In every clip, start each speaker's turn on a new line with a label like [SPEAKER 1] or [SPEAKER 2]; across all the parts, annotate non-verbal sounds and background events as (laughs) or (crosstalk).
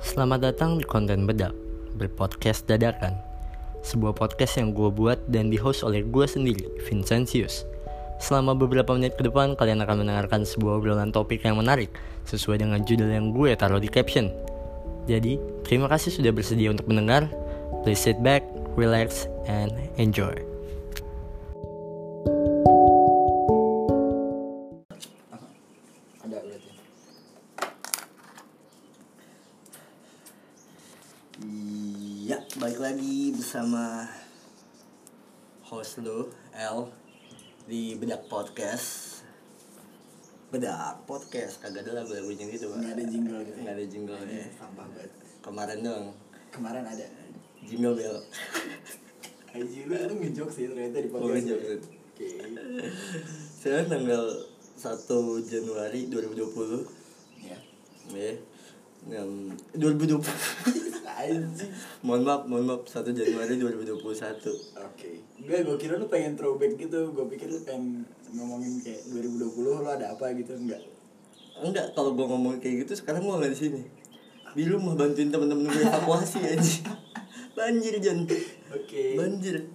[SPEAKER 1] Selamat datang di konten bedak, berpodcast dadakan. Sebuah podcast yang gue buat dan di-host oleh gue sendiri, Vincentius. Selama beberapa menit ke depan, kalian akan mendengarkan sebuah obrolan topik yang menarik, sesuai dengan judul yang gue taruh di caption. Jadi, terima kasih sudah bersedia untuk mendengar. Please sit back, relax, and enjoy.
[SPEAKER 2] Ada berarti. Iya, balik lagi bersama host lu, L di Bedak Podcast. Bedak Podcast, kagak ada lagu lagunya gitu. Nggak
[SPEAKER 3] ada jingle gitu.
[SPEAKER 2] Nggak ada jingle ya.
[SPEAKER 3] sampah banget
[SPEAKER 2] Kemarin dong,
[SPEAKER 3] kemarin ada
[SPEAKER 2] jingle bel.
[SPEAKER 3] (laughs) Aji lu lu ngejok sih ya ternyata di
[SPEAKER 2] Gue
[SPEAKER 3] podcast
[SPEAKER 2] ngejok sih.
[SPEAKER 3] oke
[SPEAKER 2] Sekarang tanggal 1 Januari 2020
[SPEAKER 3] ya
[SPEAKER 2] ya. Yang 2020
[SPEAKER 3] (laughs) Aji
[SPEAKER 2] Mohon maaf, mohon maaf 1 Januari 2021
[SPEAKER 3] oke gue gue kira lu pengen throwback gitu gue pikir lu pengen ngomongin kayak 2020 lu ada apa gitu enggak
[SPEAKER 2] Enggak, kalau gua ngomong kayak gitu sekarang gua nggak di sini. Di rumah bantuin temen-temen gue evakuasi aja. Banjir Jan.
[SPEAKER 3] oke
[SPEAKER 2] Banjir.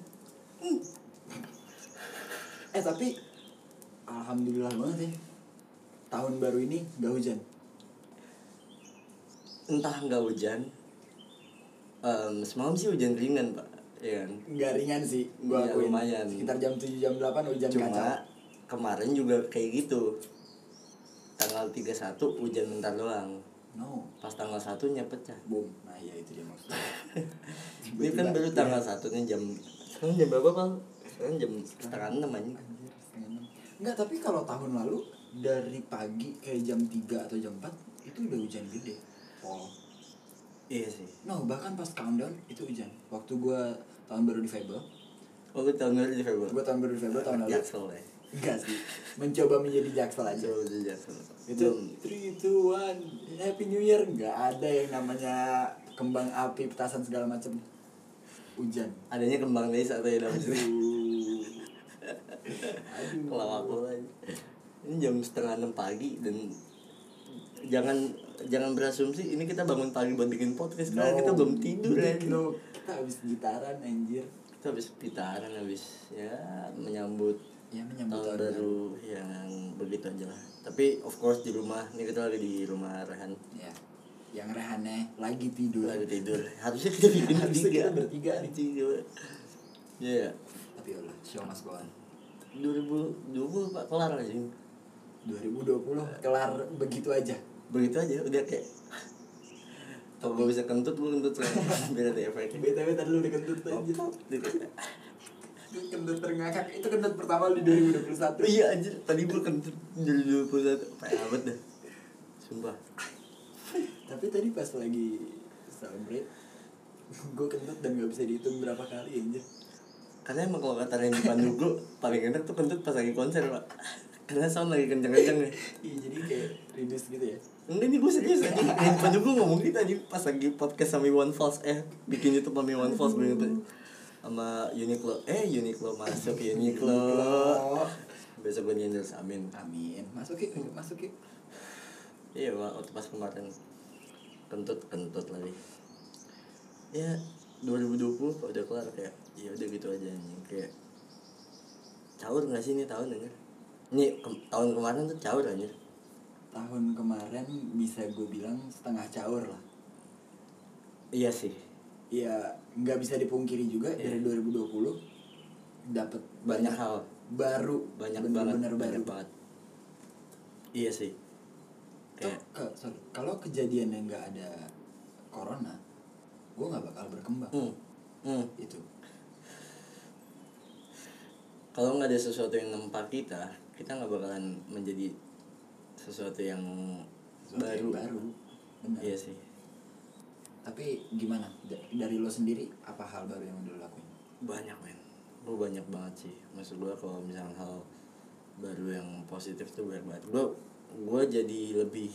[SPEAKER 3] eh tapi alhamdulillah banget ya tahun baru ini gak hujan
[SPEAKER 2] Entah nggak hujan. Em, semalam sih hujan ringan, Pak. Iya kan?
[SPEAKER 3] nggak ringan sih gue
[SPEAKER 2] Iya,
[SPEAKER 3] akuin
[SPEAKER 2] lumayan.
[SPEAKER 3] sekitar jam 7 jam 8 hujan
[SPEAKER 2] Cuma
[SPEAKER 3] kacau
[SPEAKER 2] kemarin juga kayak gitu. Tanggal 31 hujan bentar doang.
[SPEAKER 3] no
[SPEAKER 2] Pas tanggal 1 nya pecah.
[SPEAKER 3] boom nah iya itu dia
[SPEAKER 2] (laughs)
[SPEAKER 3] maksudnya
[SPEAKER 2] Ini kan baru tanggal 1 nya jam Sekarang jam berapa, Pak? Sekarang jam setengah enam anjing.
[SPEAKER 3] Anjir, setengah enam. Nggak, tapi kalau tahun lalu dari pagi kayak jam 3 atau jam 4 itu udah hujan gede. Oh.
[SPEAKER 2] Iya sih.
[SPEAKER 3] No, bahkan pas countdown itu hujan. Waktu gua tahun baru di Fable,
[SPEAKER 2] Oh, gue tahun baru di Februari.
[SPEAKER 3] gua tahun baru di Fable tahun lalu.
[SPEAKER 2] Jaksel ya.
[SPEAKER 3] Enggak sih. Mencoba menjadi jaksel aja.
[SPEAKER 2] Jauh dari Jaksel.
[SPEAKER 3] Itu 3 2 1 Happy New Year nggak ada yang namanya kembang api petasan segala macem hujan.
[SPEAKER 2] adanya kembang desa atau ya dalam cerita
[SPEAKER 3] Aduh. Aduh.
[SPEAKER 2] kalau aku lagi. ini jam setengah enam pagi dan jangan jangan berasumsi ini kita bangun pagi buat bikin podcast karena kita belum tidur ya
[SPEAKER 3] no. Kita habis gitaran anjir.
[SPEAKER 2] kita habis pitaran habis ya menyambut
[SPEAKER 3] Ya menyambut
[SPEAKER 2] tahun
[SPEAKER 3] tahun baru.
[SPEAKER 2] baru yang begitu aja lah tapi of course di rumah ini kita lagi di rumah Rehan
[SPEAKER 3] Ya. Yang Rehannya lagi tidur.
[SPEAKER 2] lagi tidur harusnya kita bikin
[SPEAKER 3] Harusnya
[SPEAKER 2] bertiga
[SPEAKER 3] kita bertiga nih.
[SPEAKER 2] Bertiga. ya
[SPEAKER 3] Tapi Allah, show mas kawan.
[SPEAKER 2] 2020 pak kelar aja
[SPEAKER 3] 2020 kelar begitu aja.
[SPEAKER 2] begitu aja udah kayak kalau gue bisa kentut gue kentut (laughs) lah biar ada efeknya
[SPEAKER 3] BTW tadi lu udah kentut anjir.
[SPEAKER 2] Apa?
[SPEAKER 3] Lu Kentut terngakak itu kentut pertama lu di 2021.
[SPEAKER 2] iya anjir tadi gue kentut dari dua puluh satu parah banget dah sumpah
[SPEAKER 3] Tapi tadi pas lagi celebrate gue kentut dan gak bisa dihitung berapa kali anjir.
[SPEAKER 2] karena emang kalau kata Randy Pandugo paling enak tuh kentut pas lagi konser pak karena sound lagi kenceng-kenceng nih
[SPEAKER 3] Iya jadi kayak reduce gitu ya.
[SPEAKER 2] Enggak nih gue serius aja Randy Pandugo ngomong gitu aja pas lagi podcast sama One Falls Eh bikin Youtube sama One Falls bikin YouTube sama Uniqlo Eh Uniqlo masuk Uniqlo
[SPEAKER 3] Oh.
[SPEAKER 2] Besok gue nyender amin
[SPEAKER 3] Amin. Masuk yuk, masuk yuk.
[SPEAKER 2] Iya, Pak, waktu pas kemarin kentut-kentut lagi. Ya, 2020 kok udah kelar kayak ya udah gitu aja anjing kayak caur nggak sih ini tahun anjir? Ini ke- tahun kemarin tuh caur anjir.
[SPEAKER 3] Tahun kemarin bisa gue bilang setengah caur lah.
[SPEAKER 2] Iya sih.
[SPEAKER 3] ya nggak bisa dipungkiri juga
[SPEAKER 2] Iya.
[SPEAKER 3] dari 2020 dapat
[SPEAKER 2] Banyak hal,
[SPEAKER 3] baru
[SPEAKER 2] banyak banget,
[SPEAKER 3] bener-bener baru
[SPEAKER 2] banyak banget. Iya sih.
[SPEAKER 3] Tuh,
[SPEAKER 2] Kayak
[SPEAKER 3] ke- eh, sorry, kalau kejadian yang nggak ada corona gue nggak bakal berkembang gitu.
[SPEAKER 2] hmm. Hmm.
[SPEAKER 3] itu
[SPEAKER 2] Kalau nggak ada sesuatu yang nempa kita, kita nggak bakalan menjadi sesuatu yang
[SPEAKER 3] Sesuatu
[SPEAKER 2] baru.
[SPEAKER 3] yang baru benar
[SPEAKER 2] Iya sih.
[SPEAKER 3] tapi gimana Da- dari lo sendiri apa hal baru yang udah lo lakuin
[SPEAKER 2] banyak men gue banyak banget sih maksud gue kalau misalnya hal baru yang positif tuh banyak banget gue gue jadi lebih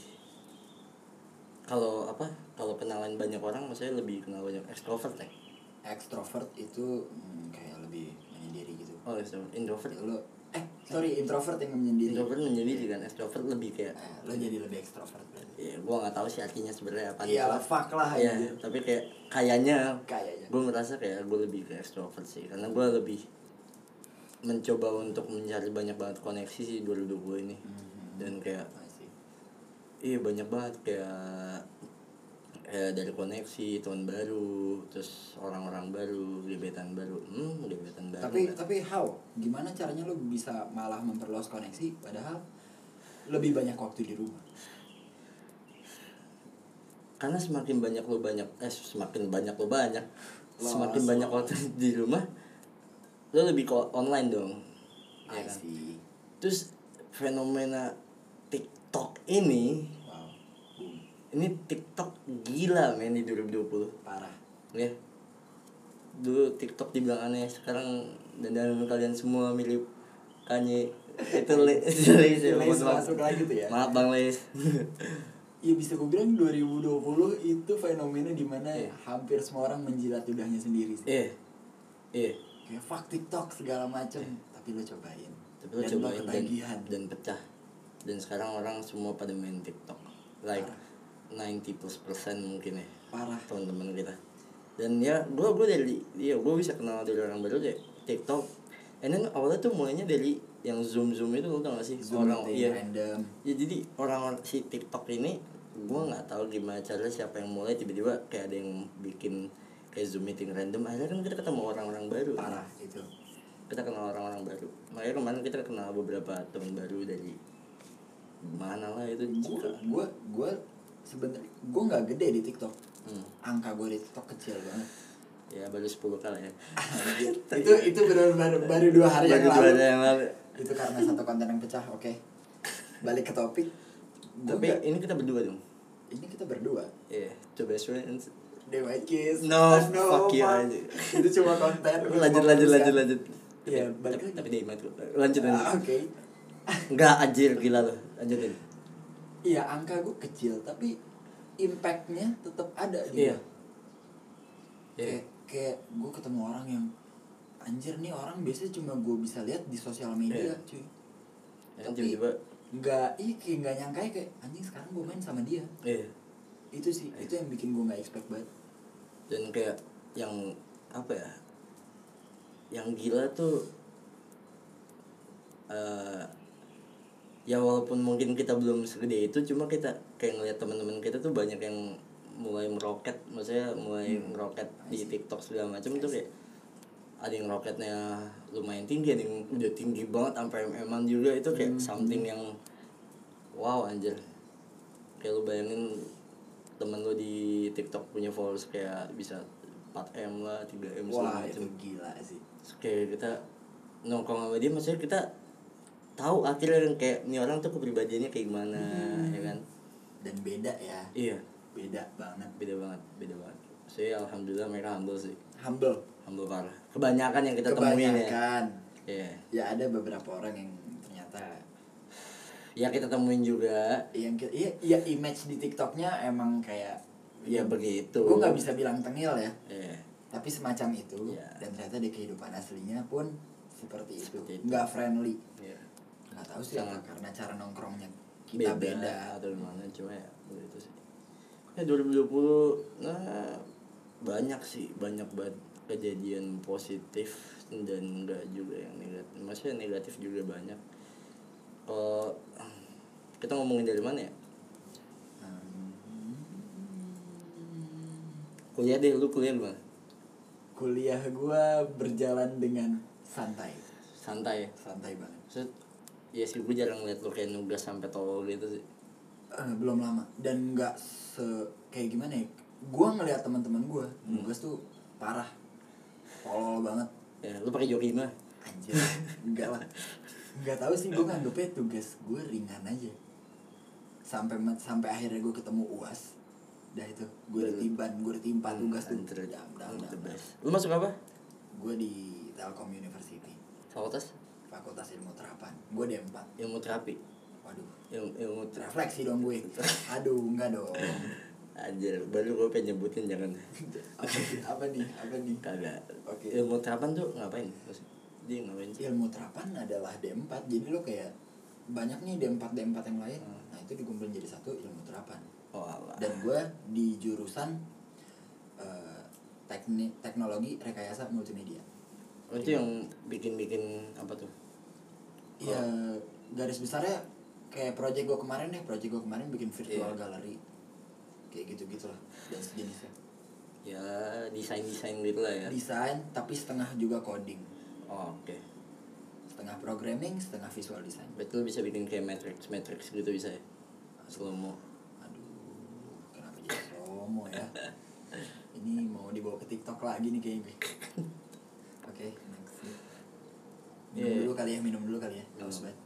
[SPEAKER 2] kalau apa kalau kenalan banyak orang maksudnya lebih kenal banyak extrovert ya
[SPEAKER 3] extrovert itu hmm, kayak lebih menyendiri gitu
[SPEAKER 2] oh extrovert introvert
[SPEAKER 3] Ya, lo eh sorry introvert yang menyendiri
[SPEAKER 2] introvert menyendiri kan extrovert lebih kayak
[SPEAKER 3] Nah, lo jadi lebih ekstrovert kan
[SPEAKER 2] ya gua nggak tahu sih artinya sebenarnya apa
[SPEAKER 3] Iya, fuck lah,
[SPEAKER 2] ya
[SPEAKER 3] anjir.
[SPEAKER 2] tapi kayak kayaknya
[SPEAKER 3] Kayaknya.
[SPEAKER 2] gue merasa kayak gue lebih ke extrovert sih karena gue lebih mencoba untuk mencari banyak banget koneksi sih 2020 ini dan kayak iya banyak banget kayak eh, dari koneksi teman baru terus orang-orang baru gebetan baru hmm gebetan baru
[SPEAKER 3] tapi
[SPEAKER 2] nggak?
[SPEAKER 3] tapi how gimana caranya lo bisa malah memperluas koneksi padahal lebih banyak waktu di rumah
[SPEAKER 2] karena semakin banyak lo banyak eh semakin banyak lo banyak
[SPEAKER 3] Lo
[SPEAKER 2] semakin
[SPEAKER 3] asal.
[SPEAKER 2] banyak waktu (laughs) di rumah lo lebih ke online dong ya
[SPEAKER 3] I
[SPEAKER 2] kan?
[SPEAKER 3] see.
[SPEAKER 2] terus fenomena TikTok ini
[SPEAKER 3] wow boom
[SPEAKER 2] ini TikTok gila men di 2020
[SPEAKER 3] parah
[SPEAKER 2] ya dulu TikTok dibilang aneh sekarang dan dan kalian semua mirip Kanye itu Li- (laughs) itu Lis ya,
[SPEAKER 3] Lis
[SPEAKER 2] mohon maaf.
[SPEAKER 3] Iya, masuk lagi tuh ya.
[SPEAKER 2] maaf bang Lis (laughs)
[SPEAKER 3] Iya bisa gue bilang 2020 itu fenomena dimana
[SPEAKER 2] Iya.
[SPEAKER 3] hampir semua orang menjilat ludahnya sendiri sih.
[SPEAKER 2] eh eh
[SPEAKER 3] Kayak fuck TikTok segala macem, tapi lo cobain.
[SPEAKER 2] Iya. tapi lo
[SPEAKER 3] dan lo
[SPEAKER 2] cobain dan,
[SPEAKER 3] ketagihan.
[SPEAKER 2] dan pecah dan sekarang orang semua pada main TikTok like
[SPEAKER 3] Parah.
[SPEAKER 2] 90 plus persen mungkin ya
[SPEAKER 3] Parah.
[SPEAKER 2] teman-teman kita dan ya gue gue dari ya gue bisa kenal dari orang baru deh TikTok and then awalnya tuh mulainya dari yang zoom zoom itu lo tau gak sih
[SPEAKER 3] Zoom
[SPEAKER 2] orang
[SPEAKER 3] meeting
[SPEAKER 2] iya
[SPEAKER 3] random.
[SPEAKER 2] ya jadi orang si TikTok ini gue nggak tahu gimana caranya siapa yang mulai tiba-tiba kayak ada yang bikin kayak zoom meeting random akhirnya kan kita ketemu orang-orang baru
[SPEAKER 3] Parah itu.
[SPEAKER 2] kita kenal orang-orang baru makanya kemarin kita kenal beberapa teman baru dari mana lah itu
[SPEAKER 3] Gue gue gue sebenarnya gue nggak gede di TikTok.
[SPEAKER 2] Hmm.
[SPEAKER 3] Angka gue di TikTok kecil banget.
[SPEAKER 2] ya baru 10 kali
[SPEAKER 3] (laughs)
[SPEAKER 2] ya
[SPEAKER 3] itu itu benar-benar baru dua hari yang
[SPEAKER 2] Baru dua
[SPEAKER 3] lalu.
[SPEAKER 2] hari yang lalu.
[SPEAKER 3] Itu karena satu konten yang pecah. Oke. Balik ke topik. Gua
[SPEAKER 2] tapi
[SPEAKER 3] nggak-
[SPEAKER 2] ini kita berdua dong
[SPEAKER 3] ini kita berdua.
[SPEAKER 2] iya two best friends
[SPEAKER 3] Dewa Kiss
[SPEAKER 2] No,
[SPEAKER 3] Ah,
[SPEAKER 2] fuck you,
[SPEAKER 3] Pak.
[SPEAKER 2] anjing.
[SPEAKER 3] Itu cuma
[SPEAKER 2] (laughs)
[SPEAKER 3] konten
[SPEAKER 2] lanjut lanjut lanjut lanjut
[SPEAKER 3] Iya,
[SPEAKER 2] Tapi-
[SPEAKER 3] balik
[SPEAKER 2] tapi,
[SPEAKER 3] lagi.
[SPEAKER 2] tapi dia imat gua. lanjut lanjut
[SPEAKER 3] Ah, Oke
[SPEAKER 2] enggak anjir gila lo lanjutin
[SPEAKER 3] Iya angka gue kecil Tapi impactnya tetap ada di
[SPEAKER 2] Iya.
[SPEAKER 3] gua.
[SPEAKER 2] Iya.
[SPEAKER 3] Kayak, kayak gue ketemu orang yang Anjir nih orang biasanya cuma gue bisa lihat di sosial media
[SPEAKER 2] Iya.
[SPEAKER 3] cuy
[SPEAKER 2] Ya, tiba-tiba
[SPEAKER 3] Nggak, iya kayak nggak nyangka ya, kayak Anjing sekarang gue main sama dia
[SPEAKER 2] iya
[SPEAKER 3] Itu sih, itu yang bikin gue nggak expect banget
[SPEAKER 2] dan kayak yang apa ya yang gila tuh eh ya walaupun mungkin kita belum segede itu cuma kita kayak ngeliat teman-teman kita tuh banyak yang mulai meroket maksudnya mulai
[SPEAKER 3] Hmm.
[SPEAKER 2] meroket di TikTok segala macam tuh kayak ada yang roketnya lumayan tinggi ada yang udah tinggi banget sampai mm juga itu kayak
[SPEAKER 3] Hmm.
[SPEAKER 2] something yang wow anjir kayak lu bayangin temen lu di TikTok punya followers kayak bisa 4M lah 3M segala
[SPEAKER 3] Wah
[SPEAKER 2] macam
[SPEAKER 3] itu gila sih
[SPEAKER 2] Terus kayak kita nongkrong sama dia maksudnya kita tahu akhirnya yang kayak ini orang tuh kepribadiannya kayak gimana
[SPEAKER 3] Hmm.
[SPEAKER 2] ya kan
[SPEAKER 3] Dan beda ya
[SPEAKER 2] iya
[SPEAKER 3] Beda banget
[SPEAKER 2] beda banget beda banget saya alhamdulillah mereka humble sih
[SPEAKER 3] Humble
[SPEAKER 2] humble parah kebanyakan yang kita temuin ya
[SPEAKER 3] Kebanyakan
[SPEAKER 2] Iya.
[SPEAKER 3] ya ada beberapa orang yang ternyata
[SPEAKER 2] ya kita temuin juga
[SPEAKER 3] yang ki- iya iya image di TikToknya emang kayak
[SPEAKER 2] ya begitu
[SPEAKER 3] gue Hmm. nggak bisa bilang tengil ya
[SPEAKER 2] Iya.
[SPEAKER 3] tapi semacam itu
[SPEAKER 2] Iya.
[SPEAKER 3] dan ternyata di kehidupan aslinya pun seperti itu
[SPEAKER 2] Seperti itu.
[SPEAKER 3] nggak friendly
[SPEAKER 2] Iya.
[SPEAKER 3] nggak tahu sih apa
[SPEAKER 2] Sangat.
[SPEAKER 3] karena cara nongkrongnya kita
[SPEAKER 2] beda,
[SPEAKER 3] beda,
[SPEAKER 2] atau gimana cuma ya itu sih ya 2020 nah banyak sih banyak banget kejadian positif dan enggak juga yang negatif maksudnya negatif juga banyak kalau kita ngomongin dari mana ya
[SPEAKER 3] Hmm,
[SPEAKER 2] kuliah deh lu kuliah di mana
[SPEAKER 3] kuliah gue berjalan dengan santai
[SPEAKER 2] santai ya
[SPEAKER 3] santai banget
[SPEAKER 2] Maksud, ya sih gue jarang liat lu kayak nugas sampai tolol gitu sih
[SPEAKER 3] Eh, belum lama dan nggak se kayak gimana ya gue ngelihat teman-teman gue
[SPEAKER 2] Hmm.
[SPEAKER 3] nugas tuh parah tolol banget
[SPEAKER 2] ya lu pakai joki mah
[SPEAKER 3] anjir enggak lah nggak tahu sih gue nganggepnya tugas gue ringan aja sampai ma- sampai akhirnya gue ketemu uas dah itu gue ditiban gue ditimpa tugas tuh
[SPEAKER 2] Anjir,
[SPEAKER 3] dam dam
[SPEAKER 2] the
[SPEAKER 3] dam
[SPEAKER 2] Hmm, best. lu masuk apa
[SPEAKER 3] gue di Telkom University
[SPEAKER 2] fakultas
[SPEAKER 3] Fakultas Ilmu Terapan gue D4
[SPEAKER 2] ilmu terapi
[SPEAKER 3] waduh
[SPEAKER 2] ilmu, ilmu terapi
[SPEAKER 3] refleksi dong gue aduh enggak dong
[SPEAKER 2] Anjir, baru gue pengen nyebutin
[SPEAKER 3] (laughs)
[SPEAKER 2] jangan
[SPEAKER 3] apa, apa nih apa nih
[SPEAKER 2] Kagak Ya,
[SPEAKER 3] Oke. Iya.
[SPEAKER 2] Ilmu terapan tuh ngapain? Maksud- dia ngapain sih
[SPEAKER 3] ilmu terapan adalah D4 jadi lo kayak banyak nih D4 D4 yang lain nah itu dikumpulin jadi satu ilmu terapan
[SPEAKER 2] oh Allah
[SPEAKER 3] dan gue di jurusan eh, teknik teknologi rekayasa multimedia
[SPEAKER 2] Oh,
[SPEAKER 3] iya.
[SPEAKER 2] itu yang bikin-bikin apa tuh
[SPEAKER 3] ya garis besarnya kayak project gue kemarin deh project gue kemarin bikin virtual gallery kayak gitu gitulah dan sejenisnya
[SPEAKER 2] ya desain desain gitu lah ya
[SPEAKER 3] desain tapi setengah juga coding
[SPEAKER 2] oh, oke
[SPEAKER 3] setengah programming setengah visual design
[SPEAKER 2] berarti lu bisa bikin kayak matrix matrix gitu bisa ya slow mo
[SPEAKER 3] Aduh, kenapa jadi promo ya? Ini mau dibawa ke TikTok lagi nih kayaknya. Oke, next. Minum
[SPEAKER 2] Iya.
[SPEAKER 3] dulu kali ya, minum dulu kali ya. Haus
[SPEAKER 2] Minum.
[SPEAKER 3] banget.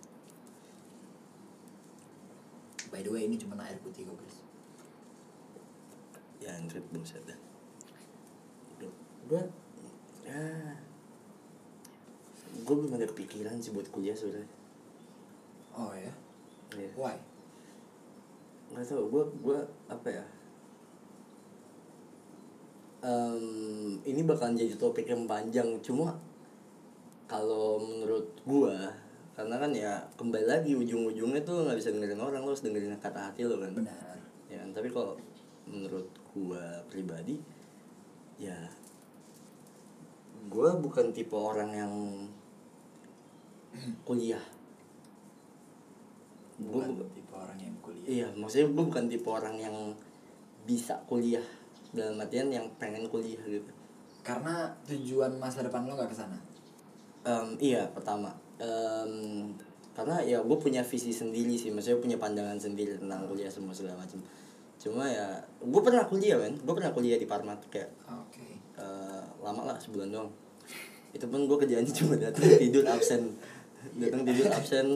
[SPEAKER 3] By the way, ini cuma air putih kok, guys.
[SPEAKER 2] ya anjrit buset dah Duh, gua ya gua belum ada pikiran sih buat kuliah sebenarnya
[SPEAKER 3] Oh ya.
[SPEAKER 2] Iya.
[SPEAKER 3] Why?
[SPEAKER 2] nggak tahu gue gue apa ya Em, ini bakalan jadi topik yang panjang cuma kalau menurut gue karena kan ya kembali lagi ujung-ujungnya tuh nggak bisa dengerin orang lo harus dengerin kata hati lo kan
[SPEAKER 3] Benar.
[SPEAKER 2] ya kan? tapi kalau menurut gua pribadi ya gua bukan tipe orang yang kuliah gua
[SPEAKER 3] Gue
[SPEAKER 2] bu-
[SPEAKER 3] tipe orang yang kuliah.
[SPEAKER 2] iya maksudnya gua bukan tipe orang yang bisa kuliah dalam artian yang pengen kuliah gitu
[SPEAKER 3] Karena tujuan masa depan lo gak kesana.
[SPEAKER 2] Em, iya pertama Em, karena ya gue punya visi sendiri sih maksudnya punya pandangan sendiri tentang kuliah semua segala macam cuma ya gue pernah kuliah kan gue pernah kuliah di Parmat kayak
[SPEAKER 3] Oke.
[SPEAKER 2] eh, lama lah sebulan doang itu pun gue kerjaannya (laughs) cuma datang tidur absen datang tidur absen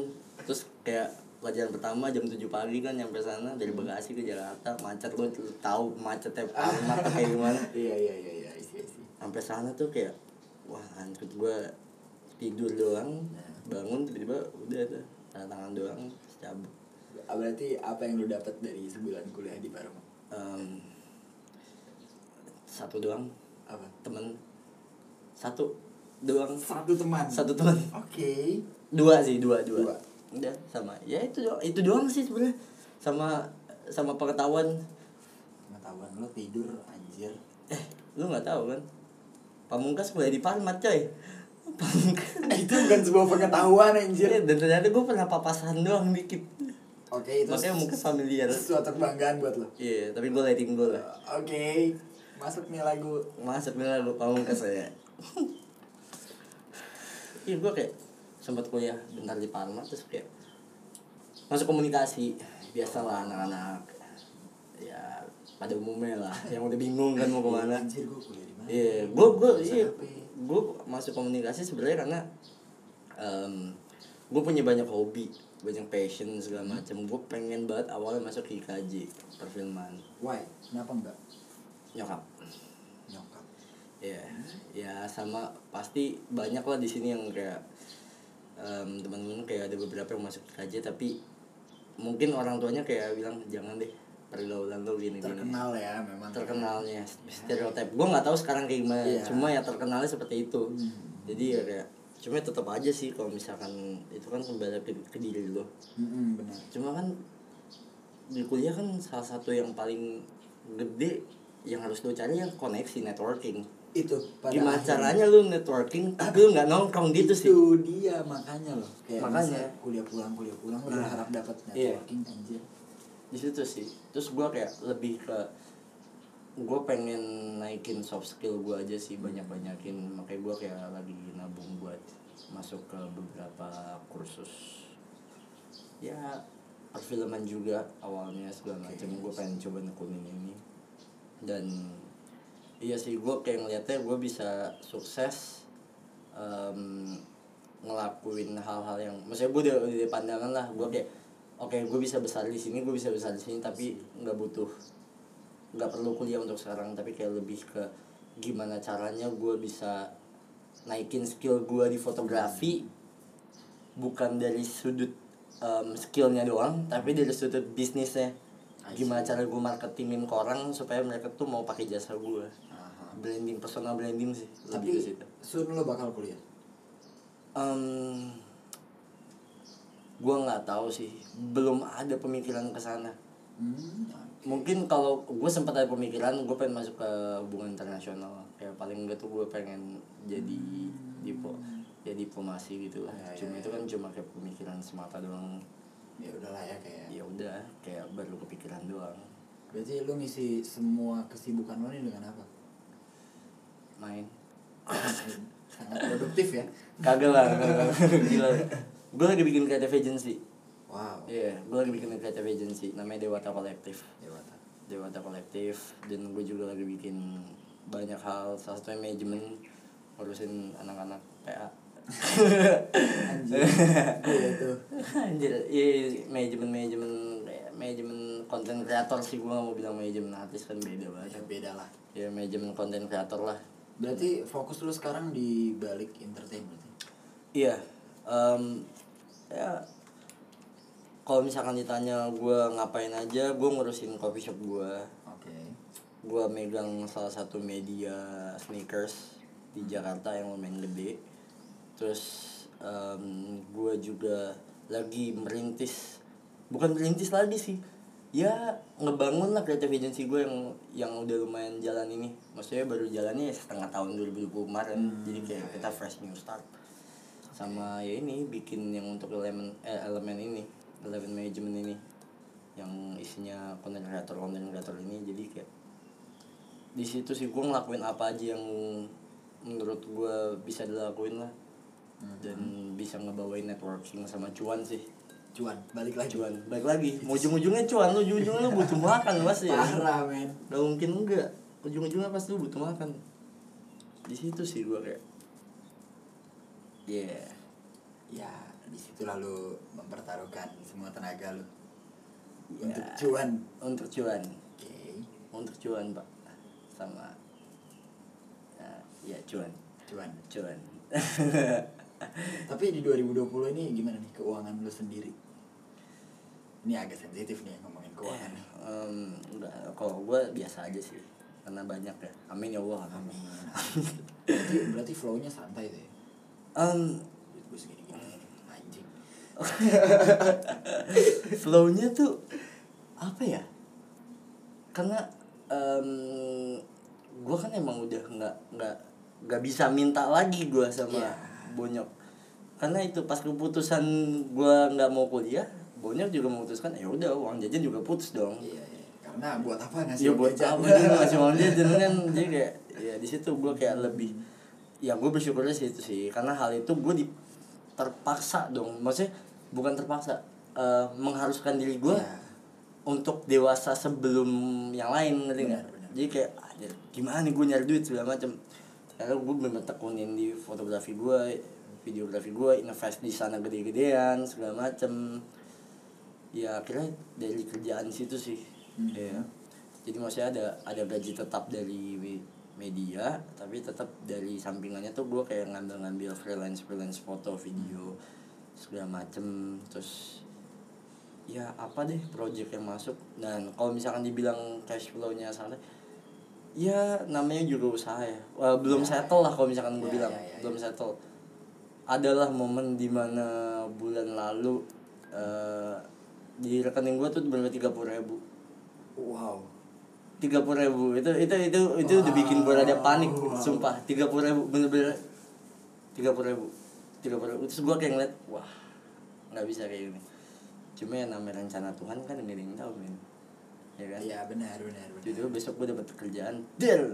[SPEAKER 2] terus kayak pelajaran pertama jam 7 pagi kan nyampe sana dari Bekasi ke Jakarta macet lu tahu macetnya Parmat tuh kayak gimana
[SPEAKER 3] Iya, iya, iya, iya, isi, isi.
[SPEAKER 2] sampai sana tuh kayak wah anjir gue tidur doang bangun tiba-tiba udah tuh tanda tangan doang terus cabut
[SPEAKER 3] Berarti apa yang lo dapat dari sebulan kuliah di Parma?
[SPEAKER 2] Em, satu doang
[SPEAKER 3] Apa?
[SPEAKER 2] temen satu doang
[SPEAKER 3] Satu teman.
[SPEAKER 2] satu teman
[SPEAKER 3] Oke.
[SPEAKER 2] dua sih dua dua,
[SPEAKER 3] Dua.
[SPEAKER 2] udah sama ya itu doang itu doang sih sebenarnya sama sama pengetahuan
[SPEAKER 3] Pengetahuan lo tidur anjir.
[SPEAKER 2] eh lu nggak tahu kan pamungkas kuliah di Parmat coy pamungkas
[SPEAKER 3] (laughs) itu bukan sebuah pengetahuan
[SPEAKER 2] Iya,
[SPEAKER 3] anjir.
[SPEAKER 2] dan ternyata gue pernah papasan doang dikit
[SPEAKER 3] Oke, itu
[SPEAKER 2] Makanya mungkin familiar Iya,
[SPEAKER 3] suatu kebanggaan buat lo.
[SPEAKER 2] tapi gue liatin gue lah
[SPEAKER 3] Oke. Masuk nih lagu.
[SPEAKER 2] Masuk nih lah, gue pamungkas saya Iya, gue kayak sempat kuliah bentar di Parma Terus kayak masuk komunikasi Biasalah anak-anak Ya, pada umumnya lah Yang udah bingung kan mau kemana
[SPEAKER 3] Anjir gue kuliah di mana?
[SPEAKER 2] Iya, gue gue
[SPEAKER 3] Jurusan
[SPEAKER 2] iya,
[SPEAKER 3] apa? ya?
[SPEAKER 2] gue masuk komunikasi sebenarnya karena gue punya banyak hobi, banyak passion segala macam. Gue pengen banget awalnya masuk ke IKJ perfilman
[SPEAKER 3] Why? Kenapa enggak?
[SPEAKER 2] nyokap.
[SPEAKER 3] Nyokap.
[SPEAKER 2] Iya, ya sama pasti banyak lah di sini yang kayak em, teman-teman kayak ada beberapa yang masuk IKJ tapi mungkin orang tuanya kayak bilang jangan deh pergaulan lo gini gini
[SPEAKER 3] Terkenal ya memang.
[SPEAKER 2] terkenalnya stereotip gue nggak tahu sekarang kayak gimana
[SPEAKER 3] Iya. Hmm.
[SPEAKER 2] cuma ya terkenalnya seperti itu jadi ya kayak cuma tetap aja sih kalau misalkan itu kan kembali ke, ke diri lo
[SPEAKER 3] Mm-mm, benar.
[SPEAKER 2] cuma kan di kuliah kan salah satu yang paling gede yang harus lo cari yang koneksi networking
[SPEAKER 3] Itu pada
[SPEAKER 2] gimana
[SPEAKER 3] akhirnya.
[SPEAKER 2] caranya lo networking tapi lo nggak nongkrong gitu sih
[SPEAKER 3] Itu dia makanya loh. Kayak
[SPEAKER 2] Makanya.
[SPEAKER 3] makanya kuliah pulang kuliah pulang udah
[SPEAKER 2] Nah.
[SPEAKER 3] harap dapat
[SPEAKER 2] Iya.
[SPEAKER 3] networking anjir.
[SPEAKER 2] di situ sih terus gue kayak lebih ke gue pengen naikin soft skill gue aja sih banyak banyakin makanya gue kayak lagi nabung buat masuk ke beberapa kursus ya perfilman juga awalnya segala macam gue pengen coba nekunin ini dan iya sih gue kayak ngeliatnya gue bisa sukses em, ngelakuin hal-hal yang maksudnya gue udah udah pandangan lah gue kayak oke gue bisa besar di sini gue bisa besar di sini tapi nggak butuh nggak perlu kuliah untuk sekarang tapi kayak lebih ke gimana caranya gue bisa naikin skill gue di fotografi bukan dari sudut em, skillnya doang tapi
[SPEAKER 3] Hmm.
[SPEAKER 2] dari sudut bisnisnya gimana cara gue marketingin ke orang supaya mereka tuh mau pakai jasa gue
[SPEAKER 3] Aha.
[SPEAKER 2] branding personal branding sih lebih ke
[SPEAKER 3] Tapi
[SPEAKER 2] situ
[SPEAKER 3] soon lo bakal kuliah.
[SPEAKER 2] Em, gua nggak tahu sih belum ada pemikiran ke sana
[SPEAKER 3] Hmm,
[SPEAKER 2] mungkin kalau gue sempat ada pemikiran gue pengen masuk ke hubungan internasional kayak paling enggak tuh gue pengen jadi dipo ya diplomasi gitu lah
[SPEAKER 3] Hmm. Ya, ya,
[SPEAKER 2] cuma itu kan cuma kayak pemikiran semata doang
[SPEAKER 3] ya udahlah ya kayak.
[SPEAKER 2] ya udah kayak baru kepikiran doang
[SPEAKER 3] Berarti lu ngisi semua kesibukan lu ini dengan apa?
[SPEAKER 2] main
[SPEAKER 3] Sangat produktif ya.
[SPEAKER 2] kagak lah kagak. gila gue lagi bikin creative agency
[SPEAKER 3] Wow.
[SPEAKER 2] iya gue lagi bikin creative agency namanya Dewata Collective
[SPEAKER 3] Dewata.
[SPEAKER 2] Dewata Kolektif dan gue juga lagi bikin banyak hal salah satunya manajemen ngurusin anak-anak PA
[SPEAKER 3] Anjir. Iya tuh.
[SPEAKER 2] (laughs) anjir iya manajemen manajemen kayak manajemen konten kreator sih gue gak mau bilang manajemen artis kan beda
[SPEAKER 3] Ya
[SPEAKER 2] banget
[SPEAKER 3] beda lah.
[SPEAKER 2] ya manajemen konten kreator lah
[SPEAKER 3] Berarti fokus lu sekarang di balik entertainment.
[SPEAKER 2] iya
[SPEAKER 3] ya?
[SPEAKER 2] em, ya kalau misalkan ditanya gue ngapain aja gue ngurusin coffee shop gue
[SPEAKER 3] Oke.
[SPEAKER 2] gue megang salah satu media sneakers di Jakarta yang lumayan gede terus gue juga lagi merintis bukan merintis lagi sih ya ngebangun lah creative agency gue yang yang udah lumayan jalan ini maksudnya baru jalannya ya setengah tahun 2020 kemarin jadi kayak kita fresh new start sama ya ini bikin yang untuk elemen eh, elemen ini elemen management ini yang isinya konten kreator konten kreator ini jadi kayak di situ sih gue ngelakuin apa aja yang menurut gue bisa dilakuin lah dan bisa ngebawain networking sama cuan sih
[SPEAKER 3] Cuan, balik lagi.
[SPEAKER 2] cuan baik lagi mau ujung-ujungnya cuan lu ujung-ujungnya lu butuh makan pasti ya
[SPEAKER 3] Parah men.
[SPEAKER 2] nggak mungkin enggak ujung-ujungnya pasti lu butuh makan di situ sih gue kayak yeah
[SPEAKER 3] Ya, disitulah lu mempertaruhkan semua tenaga lu. Untuk cuan.
[SPEAKER 2] untuk cuan
[SPEAKER 3] Oke.
[SPEAKER 2] untuk cuan pak sama nah, ya cuan
[SPEAKER 3] Cuan.
[SPEAKER 2] cuan (laughs)
[SPEAKER 3] Tapi di 2020 ini gimana nih keuangan lu sendiri? Ini agak sensitif nih ngomongin keuangan. nih.
[SPEAKER 2] Iya. Em, enggak kalau gue biasa aja sih karena banyak ya amin ya allah amin
[SPEAKER 3] berarti, berarti flow-nya santai tuh ya.
[SPEAKER 2] (laughs) Em,
[SPEAKER 3] Duit gue segini gini anjing.
[SPEAKER 2] flow-nya tuh apa ya karena em gue kan emang udah nggak nggak nggak bisa minta lagi gue sama
[SPEAKER 3] Iya.
[SPEAKER 2] bonyok karena itu pas keputusan gue nggak mau kuliah bonyok juga memutuskan ya udah uang jajan juga putus dong
[SPEAKER 3] Iya, iya. Karena buat apa ngasih
[SPEAKER 2] ya buat
[SPEAKER 3] jajan?
[SPEAKER 2] apa dia ngasih
[SPEAKER 3] (laughs)
[SPEAKER 2] uang jajan kan jadi kayak ya di situ gue kayak lebih ya gue bersyukurnya sih itu sih karena hal itu gue di terpaksa dong maksudnya bukan terpaksa eh, mengharuskan diri gue
[SPEAKER 3] Iya.
[SPEAKER 2] untuk dewasa sebelum yang lain ngerti nggak
[SPEAKER 3] Benar, benar.
[SPEAKER 2] jadi kayak anjir, gimana nih gue nyari duit segala macam karena gue bener tekunin di fotografi gue videografi gue invest di sana gede-gedean segala macem ya akhirnya dari kerjaan situ sih
[SPEAKER 3] Hmm.
[SPEAKER 2] ya jadi maksudnya ada ada gaji tetap dari we- media tapi tetap dari sampingannya tuh gue kayak ngambil-ngambil freelance freelance foto video segala macem terus ya apa deh project yang masuk dan kalau misalkan dibilang cash flow-nya salah ya namanya juga usaha ya Wah, belum settle lah kalau misalkan gue
[SPEAKER 3] Ya,
[SPEAKER 2] bilang
[SPEAKER 3] ya, ya,
[SPEAKER 2] belum settle adalah momen dimana bulan lalu eh, di rekening gue tuh berapa tiga puluh ribu
[SPEAKER 3] Wow.
[SPEAKER 2] tiga puluh ribu itu itu itu itu udah bikin gue rada panik sumpah tiga puluh ribu bener-bener tiga puluh ribu tiga puluh ribu terus gue kayak ngeliat wah nggak bisa kayak gini cuma yang namanya rencana Tuhan kan nggak ada yang tahu men ya kan
[SPEAKER 3] Iya, benar, benar, benar.
[SPEAKER 2] Jadi besok gue dapat kerjaan deal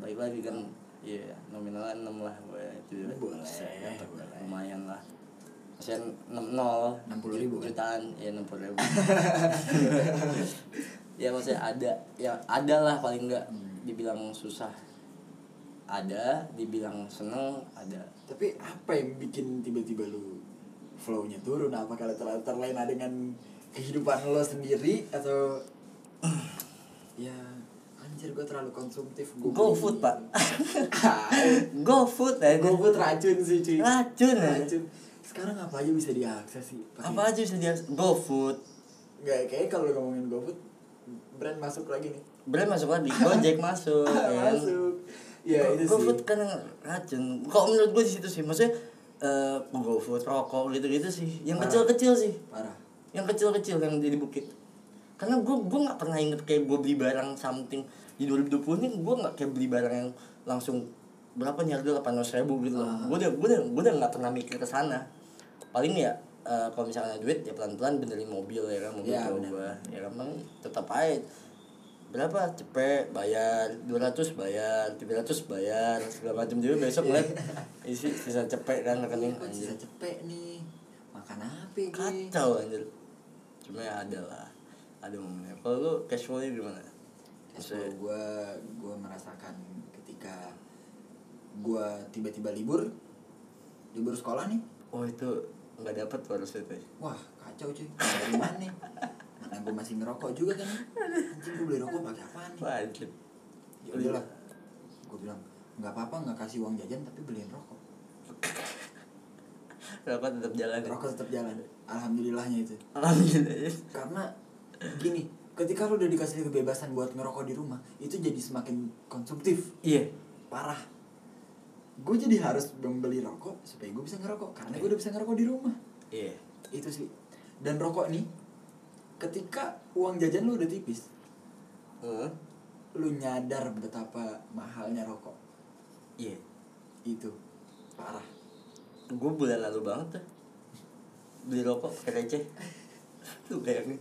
[SPEAKER 2] baik lagi kan iya nominalnya enam lah gue itu
[SPEAKER 3] Boleh,
[SPEAKER 2] Set, dapet.
[SPEAKER 3] boleh.
[SPEAKER 2] lumayan lah Maksudnya enam nol
[SPEAKER 3] 60.000 kan?
[SPEAKER 2] jutaan ya enam (laughs) puluh ribu ya maksudnya ada ya ada lah paling enggak dibilang susah ada dibilang seneng (laughs) ada
[SPEAKER 3] Tapi apa yang bikin tiba-tiba lu flow-nya turun? Apa kalau terlalu terlena dengan kehidupan lo sendiri atau (clears throat) ya anjir gue terlalu konsumtif gue
[SPEAKER 2] go food pak
[SPEAKER 3] (laughs)
[SPEAKER 2] go food aja
[SPEAKER 3] gue racun sih cuy
[SPEAKER 2] Racun, ya?
[SPEAKER 3] racun sekarang apa aja bisa diakses sih Pakai-
[SPEAKER 2] apa aja bisa dia go food
[SPEAKER 3] nggak kayak kalau lu ngomongin GoFood brand masuk lagi nih
[SPEAKER 2] brand masuk lagi gojek (laughs) masuk ya kan?
[SPEAKER 3] masuk ya itu sih
[SPEAKER 2] GoFood kan racun. Kok menurut gue di situ sih, maksudnya eh GoFood, rokok gitu-gitu sih.
[SPEAKER 3] Ah.
[SPEAKER 2] Yang kecil-kecil sih.
[SPEAKER 3] parah
[SPEAKER 2] Yang kecil-kecil yang di di bukit. Karena gue gue nggak pernah inget kayak gue beli barang something di 2020 ini gue nggak kayak beli barang yang langsung berapa nih harga delapan ribu gitu loh. Gue udah gue udah gue udah nggak pernah mikir ke sana. Paling ya eh, kalau misalnya ada duit ya pelan-pelan benerin mobil ya kan mobil
[SPEAKER 3] Iya,
[SPEAKER 2] tua
[SPEAKER 3] benar.
[SPEAKER 2] gua. ya kan Bang? tetap aja berapa cepet bayar 200 bayar 300 bayar segala macam jadi besok ngeliat isi sisa cepet kan rekening
[SPEAKER 3] Gua
[SPEAKER 2] anjir
[SPEAKER 3] bisa cepet nih makan apa gue
[SPEAKER 2] kacau anjir cuma ya ada lah ada momennya kalau lu cash flow nya gimana
[SPEAKER 3] Ya,
[SPEAKER 2] Maksudnya,
[SPEAKER 3] gue gue merasakan ketika gue tiba-tiba libur libur sekolah nih
[SPEAKER 2] oh itu nggak dapat harus itu ya.
[SPEAKER 3] wah kacau cuy dari mana nih mana gue masih ngerokok juga kan anjing gue beli rokok pakai apaan nih
[SPEAKER 2] Wah, anjir
[SPEAKER 3] ya udahlah gue bilang nggak apa-apa nggak kasih uang jajan tapi beliin rokok
[SPEAKER 2] dapat tetap jalan ya.
[SPEAKER 3] rokok tetap jalan alhamdulillahnya itu
[SPEAKER 2] alhamdulillah ya.
[SPEAKER 3] karena gini ketika lu udah dikasih kebebasan buat ngerokok di rumah itu jadi semakin konsumtif
[SPEAKER 2] iya
[SPEAKER 3] parah gue jadi harus membeli rokok supaya gue bisa ngerokok karena gue udah bisa ngerokok di rumah
[SPEAKER 2] iya
[SPEAKER 3] itu sih dan rokok nih ketika uang jajan lu udah tipis
[SPEAKER 2] Heeh.
[SPEAKER 3] lu nyadar betapa mahalnya rokok
[SPEAKER 2] iya
[SPEAKER 3] itu parah
[SPEAKER 2] gue bulan lalu banget tuh beli rokok pakai receh lu bayangin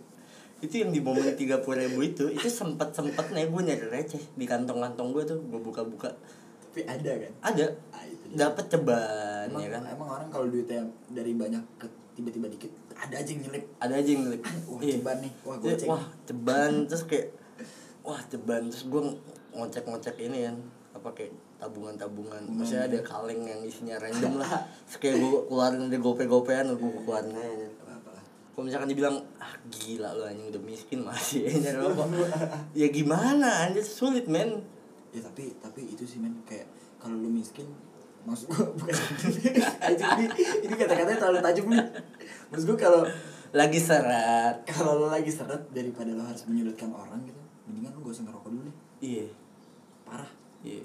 [SPEAKER 2] itu yang di momen tiga puluh ribu itu itu sempet sempetnya gue nyari receh di kantong kantong gue tuh gue buka buka
[SPEAKER 3] tapi ada kan
[SPEAKER 2] ada
[SPEAKER 3] Ah, itu dia.
[SPEAKER 2] dapat ceban
[SPEAKER 3] emang,
[SPEAKER 2] ya kan
[SPEAKER 3] emang orang kalau duitnya dari banyak ke tiba-tiba dikit ada aja yang nyelip
[SPEAKER 2] ada aja yang ngelik
[SPEAKER 3] Wah,
[SPEAKER 2] Iya.
[SPEAKER 3] ceban nih. Wah,
[SPEAKER 2] Iya,
[SPEAKER 3] goceng.
[SPEAKER 2] wah ceban terus kayak wah ceban terus gue ngocek ngocek ini kan apa kayak tabungan tabungan
[SPEAKER 3] Hmm.
[SPEAKER 2] maksudnya ada kaleng yang isinya random
[SPEAKER 3] (laughs)
[SPEAKER 2] lah terus kayak gue keluarin dari gope gopean gue
[SPEAKER 3] Iya.
[SPEAKER 2] keluarin aja.
[SPEAKER 3] apa
[SPEAKER 2] kalau misalkan dibilang ah gila lu anjing udah miskin masih (laughs) aja nyari
[SPEAKER 3] (laughs)
[SPEAKER 2] rokok ya gimana anjir sulit men
[SPEAKER 3] ya tapi tapi itu sih men kayak kalau lu miskin maksud gua (laughs)
[SPEAKER 2] (laughs)
[SPEAKER 3] bukan Anjing, ini ini kata-katanya terlalu tajam nih maksud gua kalau
[SPEAKER 2] lagi serat
[SPEAKER 3] kalau lo lagi seret daripada lo harus menyulitkan orang gitu mendingan lo gak usah ngerokok dulu deh
[SPEAKER 2] iya
[SPEAKER 3] parah
[SPEAKER 2] iya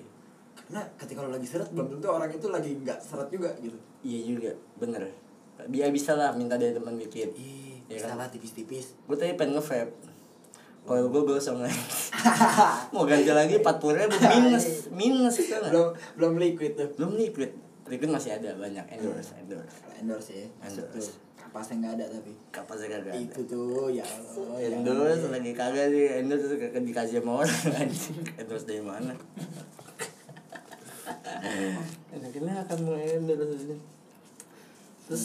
[SPEAKER 3] karena ketika lo lagi seret belum tentu orang itu lagi nggak seret juga gitu
[SPEAKER 2] iya juga bener biar bisa lah minta dari teman dikit
[SPEAKER 3] ih
[SPEAKER 2] Iya kan?
[SPEAKER 3] salah tipis-tipis
[SPEAKER 2] gue tadi pengen nge-vape kalau gue gosong lagi (laughs) mau ganti lagi 40 ribu minus minus kan belum
[SPEAKER 3] (laughs) belum belum liquid tuh
[SPEAKER 2] belum liquid liquid masih ada banyak endorse endorse
[SPEAKER 3] Kalau endorse ya masuk tuh
[SPEAKER 2] Endorse.
[SPEAKER 3] kapasnya nggak ada tapi
[SPEAKER 2] kapan saya kagak ada Iya.
[SPEAKER 3] itu tuh ya Allah ya
[SPEAKER 2] endorse lagi kagak sih endorse terus kagak dikasih sama orang (laughs) anjing endorse dari (laughs) mana enaknya akan mau endorse ini. terus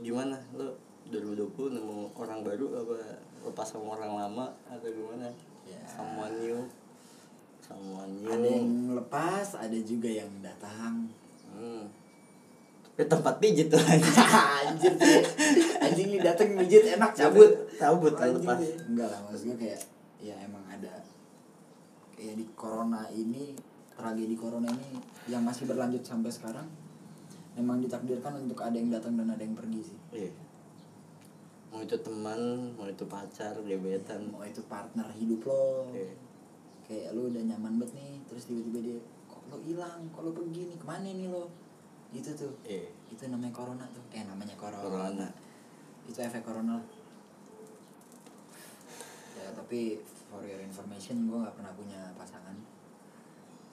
[SPEAKER 2] gimana lo 2020 nemu orang baru apa lepas sama orang lama atau gimana
[SPEAKER 3] Ya.
[SPEAKER 2] someone new someone new
[SPEAKER 3] ada yang lepas ada juga yang datang (laughs)
[SPEAKER 2] hmm. Ke tempat pijit tuh anjing.
[SPEAKER 3] (laughs) anjir tuh anjing ini dateng mijit enak
[SPEAKER 2] cabut
[SPEAKER 3] cabut
[SPEAKER 2] cabut lah lepas
[SPEAKER 3] Anjing, ya. enggak lah maksud gue kayak ya emang ada ya di corona ini tragedi corona ini yang masih berlanjut sampai sekarang memang ditakdirkan untuk ada yang datang dan ada yang pergi sih
[SPEAKER 2] Iya. Mau itu teman, mau itu pacar, gebetan.
[SPEAKER 3] mau itu partner hidup lo
[SPEAKER 2] Iya.
[SPEAKER 3] kayak lo udah nyaman banget nih terus tiba-tiba dia kok lo hilang kok lo pergi nih kemana nih lo itu tuh
[SPEAKER 2] Iya.
[SPEAKER 3] itu namanya corona tuh eh namanya corona,
[SPEAKER 2] Corona.
[SPEAKER 3] itu efek corona lah. ya tapi for your information gue nggak pernah punya pasangan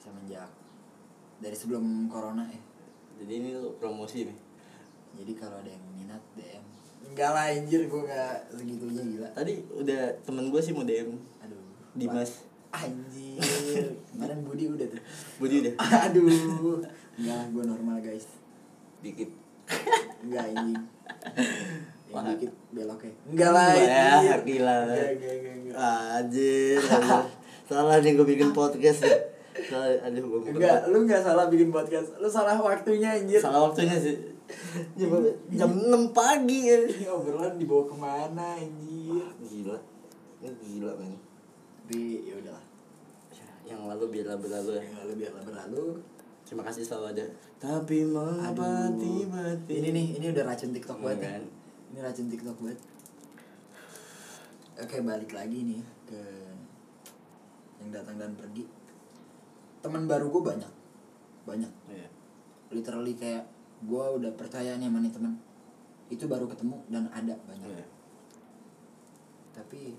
[SPEAKER 3] semenjak dari sebelum corona eh
[SPEAKER 2] Jadi ini lo promosi nih.
[SPEAKER 3] jadi kalau ada yang minat dm enggak lah anjir gue gak segitunya gila
[SPEAKER 2] Tadi udah temen gue sih mau DM
[SPEAKER 3] aduh
[SPEAKER 2] Dimas. (laughs)
[SPEAKER 3] anjir kemarin Budi udah tuh
[SPEAKER 2] Budi udah
[SPEAKER 3] (laughs) aduh enggak lah gue normal guys
[SPEAKER 2] dikit.
[SPEAKER 3] enggak anjing yang (laughs)
[SPEAKER 2] Wah.
[SPEAKER 3] dikit belok ya enggak lah
[SPEAKER 2] Ya,
[SPEAKER 3] anjir.
[SPEAKER 2] gila.
[SPEAKER 3] Enggak, enggak, enggak, enggak.
[SPEAKER 2] Anjir. anjir. (laughs) Salah nih gue bikin podcast ya. Salah, aduh gue bikin
[SPEAKER 3] Enggak, lu enggak salah bikin podcast. Lu salah waktunya anjir.
[SPEAKER 2] podcast. Salah waktunya sih. Jam, Iya. jam 6 pagi ya.
[SPEAKER 3] Ini obrolan dibawa kemana anjir.
[SPEAKER 2] Gila. Ini gila men.
[SPEAKER 3] Tapi ya udahlah.
[SPEAKER 2] Ya, Yang lalu biarlah berlalu ya.
[SPEAKER 3] Yang lalu biarlah berlalu.
[SPEAKER 2] Terima kasih selalu ada. Tapi mengapa
[SPEAKER 3] Aduh.
[SPEAKER 2] tiba-tiba
[SPEAKER 3] Ini nih, ini udah racun TikTok
[SPEAKER 2] Iya
[SPEAKER 3] banget. ya.
[SPEAKER 2] kan?
[SPEAKER 3] Ini racun TikTok banget. Oke, balik lagi nih ke yang datang dan pergi. Teman baru gue banyak. Banyak.
[SPEAKER 2] Iya.
[SPEAKER 3] literally kayak gue udah percaya nih sama nih temen itu baru ketemu dan ada banyak
[SPEAKER 2] Iya.
[SPEAKER 3] tapi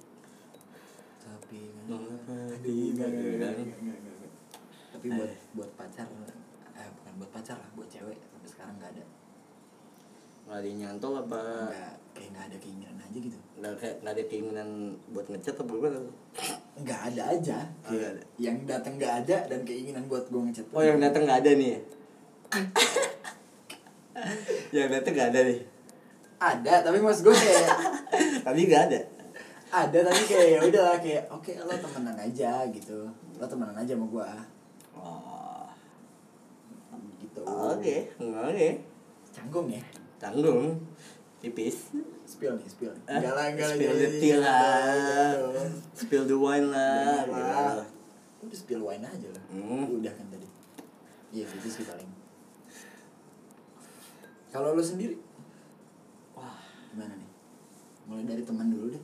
[SPEAKER 3] tapi
[SPEAKER 2] Mengapa
[SPEAKER 3] Aduh, enggak, enggak, enggak,
[SPEAKER 2] kan?
[SPEAKER 3] enggak, enggak, enggak, enggak. tapi buat buat pacar eh bukan buat pacar lah buat cewek sampai sekarang nggak
[SPEAKER 2] Nah.
[SPEAKER 3] ada
[SPEAKER 2] nggak ada yang nyantol apa
[SPEAKER 3] nggak kayak nggak ada keinginan aja gitu
[SPEAKER 2] nggak kayak nggak ada keinginan buat ngecat apa gimana tuh?
[SPEAKER 3] nggak ada aja
[SPEAKER 2] Oh, nggak ada.
[SPEAKER 3] yang datang nggak ada dan keinginan buat gue ngechat
[SPEAKER 2] oh
[SPEAKER 3] pun
[SPEAKER 2] yang datang nggak ada nih ya? (laughs) yang datang nggak ada nih
[SPEAKER 3] ada tapi mas gue kayak
[SPEAKER 2] (laughs) tapi nggak ada
[SPEAKER 3] ada tapi kayak ya udah lah, kayak oke lo temenan aja gitu lo temenan aja sama gue
[SPEAKER 2] oh
[SPEAKER 3] gitu
[SPEAKER 2] oke oke
[SPEAKER 3] canggung ya
[SPEAKER 2] tanggung tipis
[SPEAKER 3] spill nih spill
[SPEAKER 2] Eh,
[SPEAKER 3] nih. enggak lah enggak lah
[SPEAKER 2] spill
[SPEAKER 3] enggak
[SPEAKER 2] the
[SPEAKER 3] lah,
[SPEAKER 2] tea
[SPEAKER 3] enggak lah,
[SPEAKER 2] lah
[SPEAKER 3] enggak lah.
[SPEAKER 2] spill the wine lah
[SPEAKER 3] Jangan
[SPEAKER 2] gitu.
[SPEAKER 3] lah. Udah spill wine aja lah.
[SPEAKER 2] Hmm.
[SPEAKER 3] Udah kan tadi. Iya, gitu sih paling. Kalau lu sendiri, wah, gimana nih? Mulai dari teman dulu deh.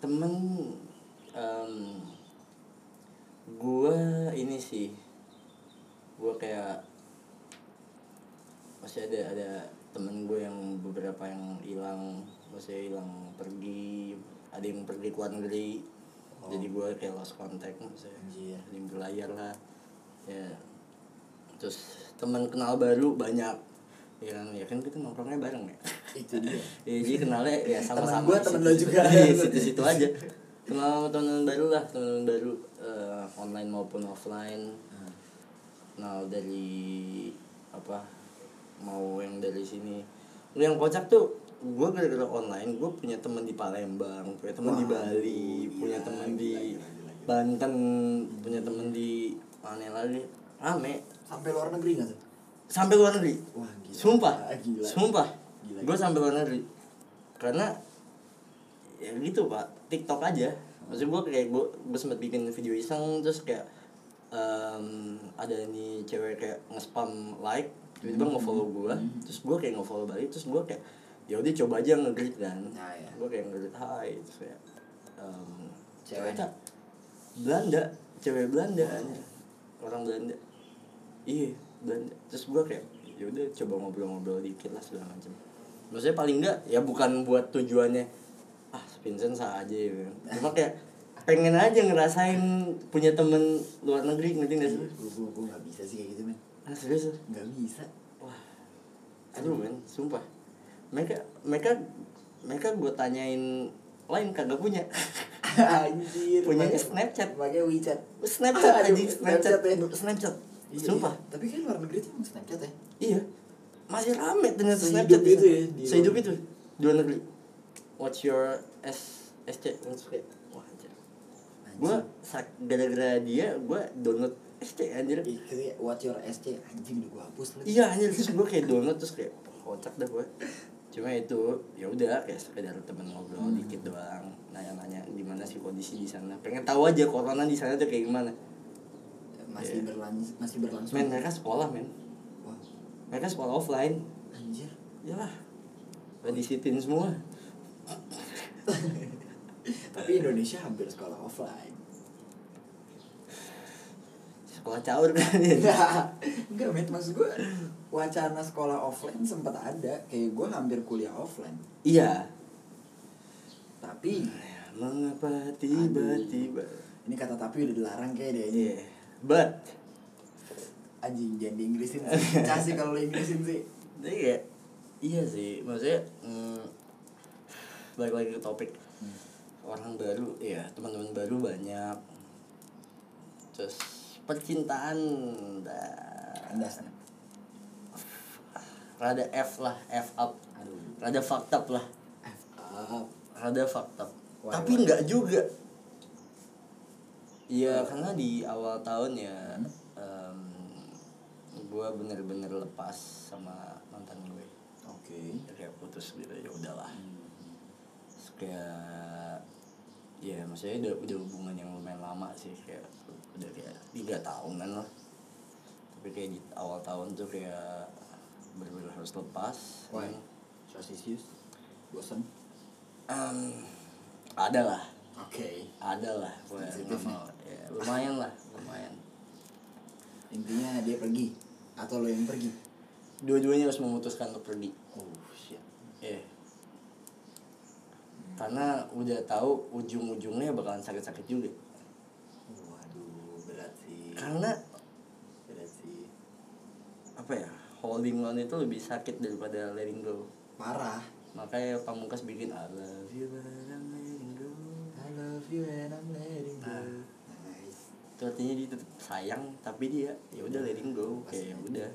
[SPEAKER 2] temen em gua ini sih gua kayak masih ada ada temen gue yang beberapa yang hilang masih hilang pergi ada yang pergi ke luar negeri
[SPEAKER 3] Oh.
[SPEAKER 2] jadi gua kayak lost contact maksudnya
[SPEAKER 3] Anjir.
[SPEAKER 2] ada yang berlayar lah ya terus teman kenal baru banyak ya kan ya kan kita nongkrongnya bareng ya
[SPEAKER 3] Itu dia.
[SPEAKER 2] Iya jadi kenalnya (laughs) ya sama-sama.
[SPEAKER 3] Temen gua,
[SPEAKER 2] di
[SPEAKER 3] temen
[SPEAKER 2] situ-
[SPEAKER 3] lo juga. (laughs)
[SPEAKER 2] Iya situ-situ aja. Kenal teman baru lah, teman baru eh, online maupun offline.
[SPEAKER 3] Nah,
[SPEAKER 2] Kenal dari apa mau yang dari sini. Lu yang kocak tuh gue gara-gara online gue punya teman di Palembang punya teman di Bali punya teman di Banten punya teman di mana lagi rame
[SPEAKER 3] Sampai luar negeri nggak tuh?
[SPEAKER 2] sampai luar negeri
[SPEAKER 3] Wah, gila. Ah,
[SPEAKER 2] sumpah
[SPEAKER 3] Gila.
[SPEAKER 2] sumpah
[SPEAKER 3] Gila,
[SPEAKER 2] gue sampai luar negeri karena ya gitu pak TikTok aja maksud gue kayak gue gue sempet bikin video iseng terus kayak em, ada nih cewek kayak nge-spam like tiba-tiba
[SPEAKER 3] Hmm.
[SPEAKER 2] nge-follow gue terus gue kayak nge-follow balik terus gue kayak ya udah coba aja nge-greet kan
[SPEAKER 3] Nah, ya.
[SPEAKER 2] gue kayak nge-greet hi terus kayak em,
[SPEAKER 3] Cewek.
[SPEAKER 2] ternyata Belanda cewek Belanda orang Belanda iya Belanda terus gue kayak ya udah coba ngobrol-ngobrol dikit lah segala macam maksudnya paling enggak ya bukan buat tujuannya ah Vincent sah aja ya cuma kayak pengen aja ngerasain punya temen luar negeri ngerti nggak sih
[SPEAKER 3] Gue gue gue nggak bisa sih kayak gitu men.
[SPEAKER 2] ah serius ah?
[SPEAKER 3] Nggak bisa.
[SPEAKER 2] wah aduh men sumpah mereka mereka mereka gue tanyain lain kagak punya (laughs)
[SPEAKER 3] (laughs) Anjir.
[SPEAKER 2] Punyanya
[SPEAKER 3] pakai-
[SPEAKER 2] Snapchat.
[SPEAKER 3] Pakai WeChat.
[SPEAKER 2] Snapchat
[SPEAKER 3] Aduh,
[SPEAKER 2] aja Snapchat
[SPEAKER 3] Snapchat ya.
[SPEAKER 2] Snapchat
[SPEAKER 3] Iya,
[SPEAKER 2] sumpah
[SPEAKER 3] iya. Tapi kan luar negeri tuh emang Snapchat ya.
[SPEAKER 2] Iya. Masih rame dengan
[SPEAKER 3] Sehidup
[SPEAKER 2] Snapchat
[SPEAKER 3] itu ya, di
[SPEAKER 2] Sehidup
[SPEAKER 3] luar-
[SPEAKER 2] itu. Di luar negeri. What's your S SC? Maksudnya, Wah, anjir. Gua sak- gara-gara dia gua download SC anjir.
[SPEAKER 3] Ih, kayak What Your SC anjing udah gue hapus lagi.
[SPEAKER 2] Iya anjir terus gua kayak download terus kayak "Wah, kocak dah gua. Cuma itu ya udah kayak sekedar temen ngobrol dikit doang. Nanya-nanya gimana sih kondisi di sana. Pengen tahu aja corona di sana tuh kayak gimana.
[SPEAKER 3] masih
[SPEAKER 2] Iya.
[SPEAKER 3] berlangsung masih berlangsung
[SPEAKER 2] Men ya kan? mereka sekolah men.
[SPEAKER 3] wah
[SPEAKER 2] Mereka sekolah offline.
[SPEAKER 3] anjir
[SPEAKER 2] (laughs) Iyalah. Udah disitin semua.
[SPEAKER 3] tapi Indonesia hampir sekolah
[SPEAKER 2] (laughs)
[SPEAKER 3] offline
[SPEAKER 2] Sekolah caur kan (laughs) ya.
[SPEAKER 3] enggak met maksud gue wacana sekolah offline sempat ada kayak gue hampir kuliah offline
[SPEAKER 2] Iya.
[SPEAKER 3] tapi
[SPEAKER 2] Hmm. Mengapa tiba-tiba?
[SPEAKER 3] ini kata tapi udah dilarang kayak deh ini
[SPEAKER 2] Iya. But
[SPEAKER 3] anjing jangan
[SPEAKER 2] (laughs)
[SPEAKER 3] diinggrisin sih kasih kalau lo inggrisin sih
[SPEAKER 2] tapi kayak iya sih, maksudnya mm, balik lagi ke topik orang baru, ya teman-teman baru banyak. Terus percintaan dah
[SPEAKER 3] andasnya
[SPEAKER 2] rada F lah, F up,
[SPEAKER 3] aduh
[SPEAKER 2] rada fucked up lah,
[SPEAKER 3] F up
[SPEAKER 2] rada fucked up.
[SPEAKER 3] Why,
[SPEAKER 2] Tapi
[SPEAKER 3] why?
[SPEAKER 2] nggak juga. Iya, karena di awal tahun ya gue bener-bener lepas sama mantan gue.
[SPEAKER 3] oke
[SPEAKER 2] Ya Kayak putus gitu ya udahlah.
[SPEAKER 3] Hmm.
[SPEAKER 2] Terus Kayak ya maksudnya udah udah hubungan yang lumayan lama sih kayak udah kayak tiga tahunan lah. Tapi kayak di awal tahun tuh kayak bener-bener harus lepas.
[SPEAKER 3] why sosius bosan
[SPEAKER 2] Em, ada lah
[SPEAKER 3] oke
[SPEAKER 2] ada lah gue
[SPEAKER 3] Sensitif
[SPEAKER 2] nggak mau. Ya, lumayan lah lumayan
[SPEAKER 3] intinya dia pergi atau lo yang pergi
[SPEAKER 2] dua-duanya harus memutuskan untuk pergi
[SPEAKER 3] oh shit
[SPEAKER 2] Iya. karena udah tahu ujung-ujungnya bakalan sakit-sakit juga
[SPEAKER 3] waduh berat sih
[SPEAKER 2] karena
[SPEAKER 3] berat sih
[SPEAKER 2] apa ya holding on itu lebih sakit daripada letting go
[SPEAKER 3] parah
[SPEAKER 2] makanya pamungkas bikin I love you but I'm letting go
[SPEAKER 3] I love you and I'm letting go
[SPEAKER 2] Nah.
[SPEAKER 3] nice
[SPEAKER 2] itu artinya dia tetap sayang tapi dia ya udah letting go
[SPEAKER 3] Pasti.
[SPEAKER 2] kayak ya udah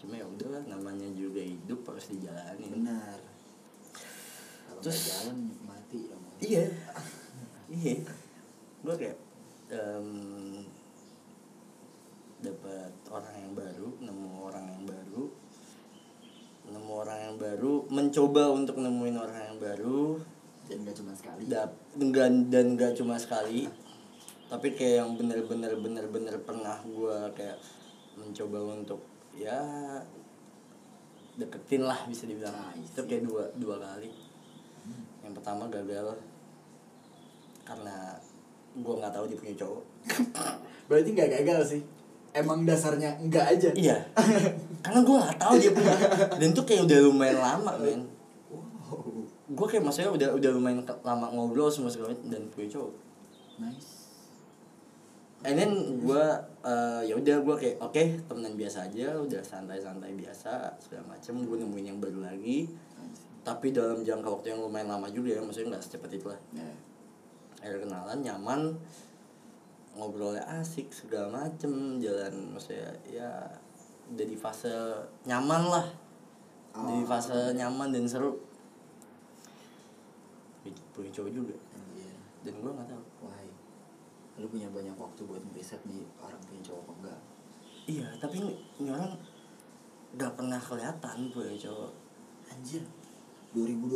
[SPEAKER 2] cuma ya udah lah, namanya juga hidup harus dijalanin
[SPEAKER 3] benar kalau nggak
[SPEAKER 2] Terus-
[SPEAKER 3] jalan mati dong
[SPEAKER 2] iya iya gue kayak em, dapat orang yang baru nemu orang yang baru nemu orang yang baru mencoba untuk nemuin orang yang baru
[SPEAKER 3] dan nggak cuma sekali
[SPEAKER 2] dap dan dan gak cuma sekali tapi kayak yang bener-bener bener-bener pernah gua kayak mencoba untuk ya deketin lah bisa dibilang
[SPEAKER 3] Nice.
[SPEAKER 2] itu kayak dua dua kali yang pertama gagal karena gua nggak tahu dia punya cowok
[SPEAKER 3] berarti nggak gagal sih emang dasarnya enggak aja
[SPEAKER 2] iya karena gua nggak tahu dia punya dan tuh kayak udah lumayan lama men
[SPEAKER 3] wow
[SPEAKER 2] gua kayak maksudnya udah udah lumayan ke- lama ngobrol semua segala macam, dan punya cowok
[SPEAKER 3] nice
[SPEAKER 2] And then gue ya udah gue kayak oke temenan biasa aja udah santai-santai biasa segala macem gue nemuin yang baru lagi
[SPEAKER 3] nice
[SPEAKER 2] tapi dalam jangka waktu yang lumayan lama juga ya maksudnya nggak secepat itu lah
[SPEAKER 3] ya
[SPEAKER 2] akhirnya kenalan nyaman ngobrolnya asik segala macem jalan maksudnya ya udah di fase nyaman lah di
[SPEAKER 3] Oh.
[SPEAKER 2] fase nyaman dan seru Punya- punya cowok juga
[SPEAKER 3] and yeah.
[SPEAKER 2] dan gue nggak tahu
[SPEAKER 3] why lu punya banyak waktu buat riset nih orang punya cowok apa enggak
[SPEAKER 2] Iya, tapi ini, ini orang gak pernah kelihatan gue cowok.
[SPEAKER 3] anjir 2020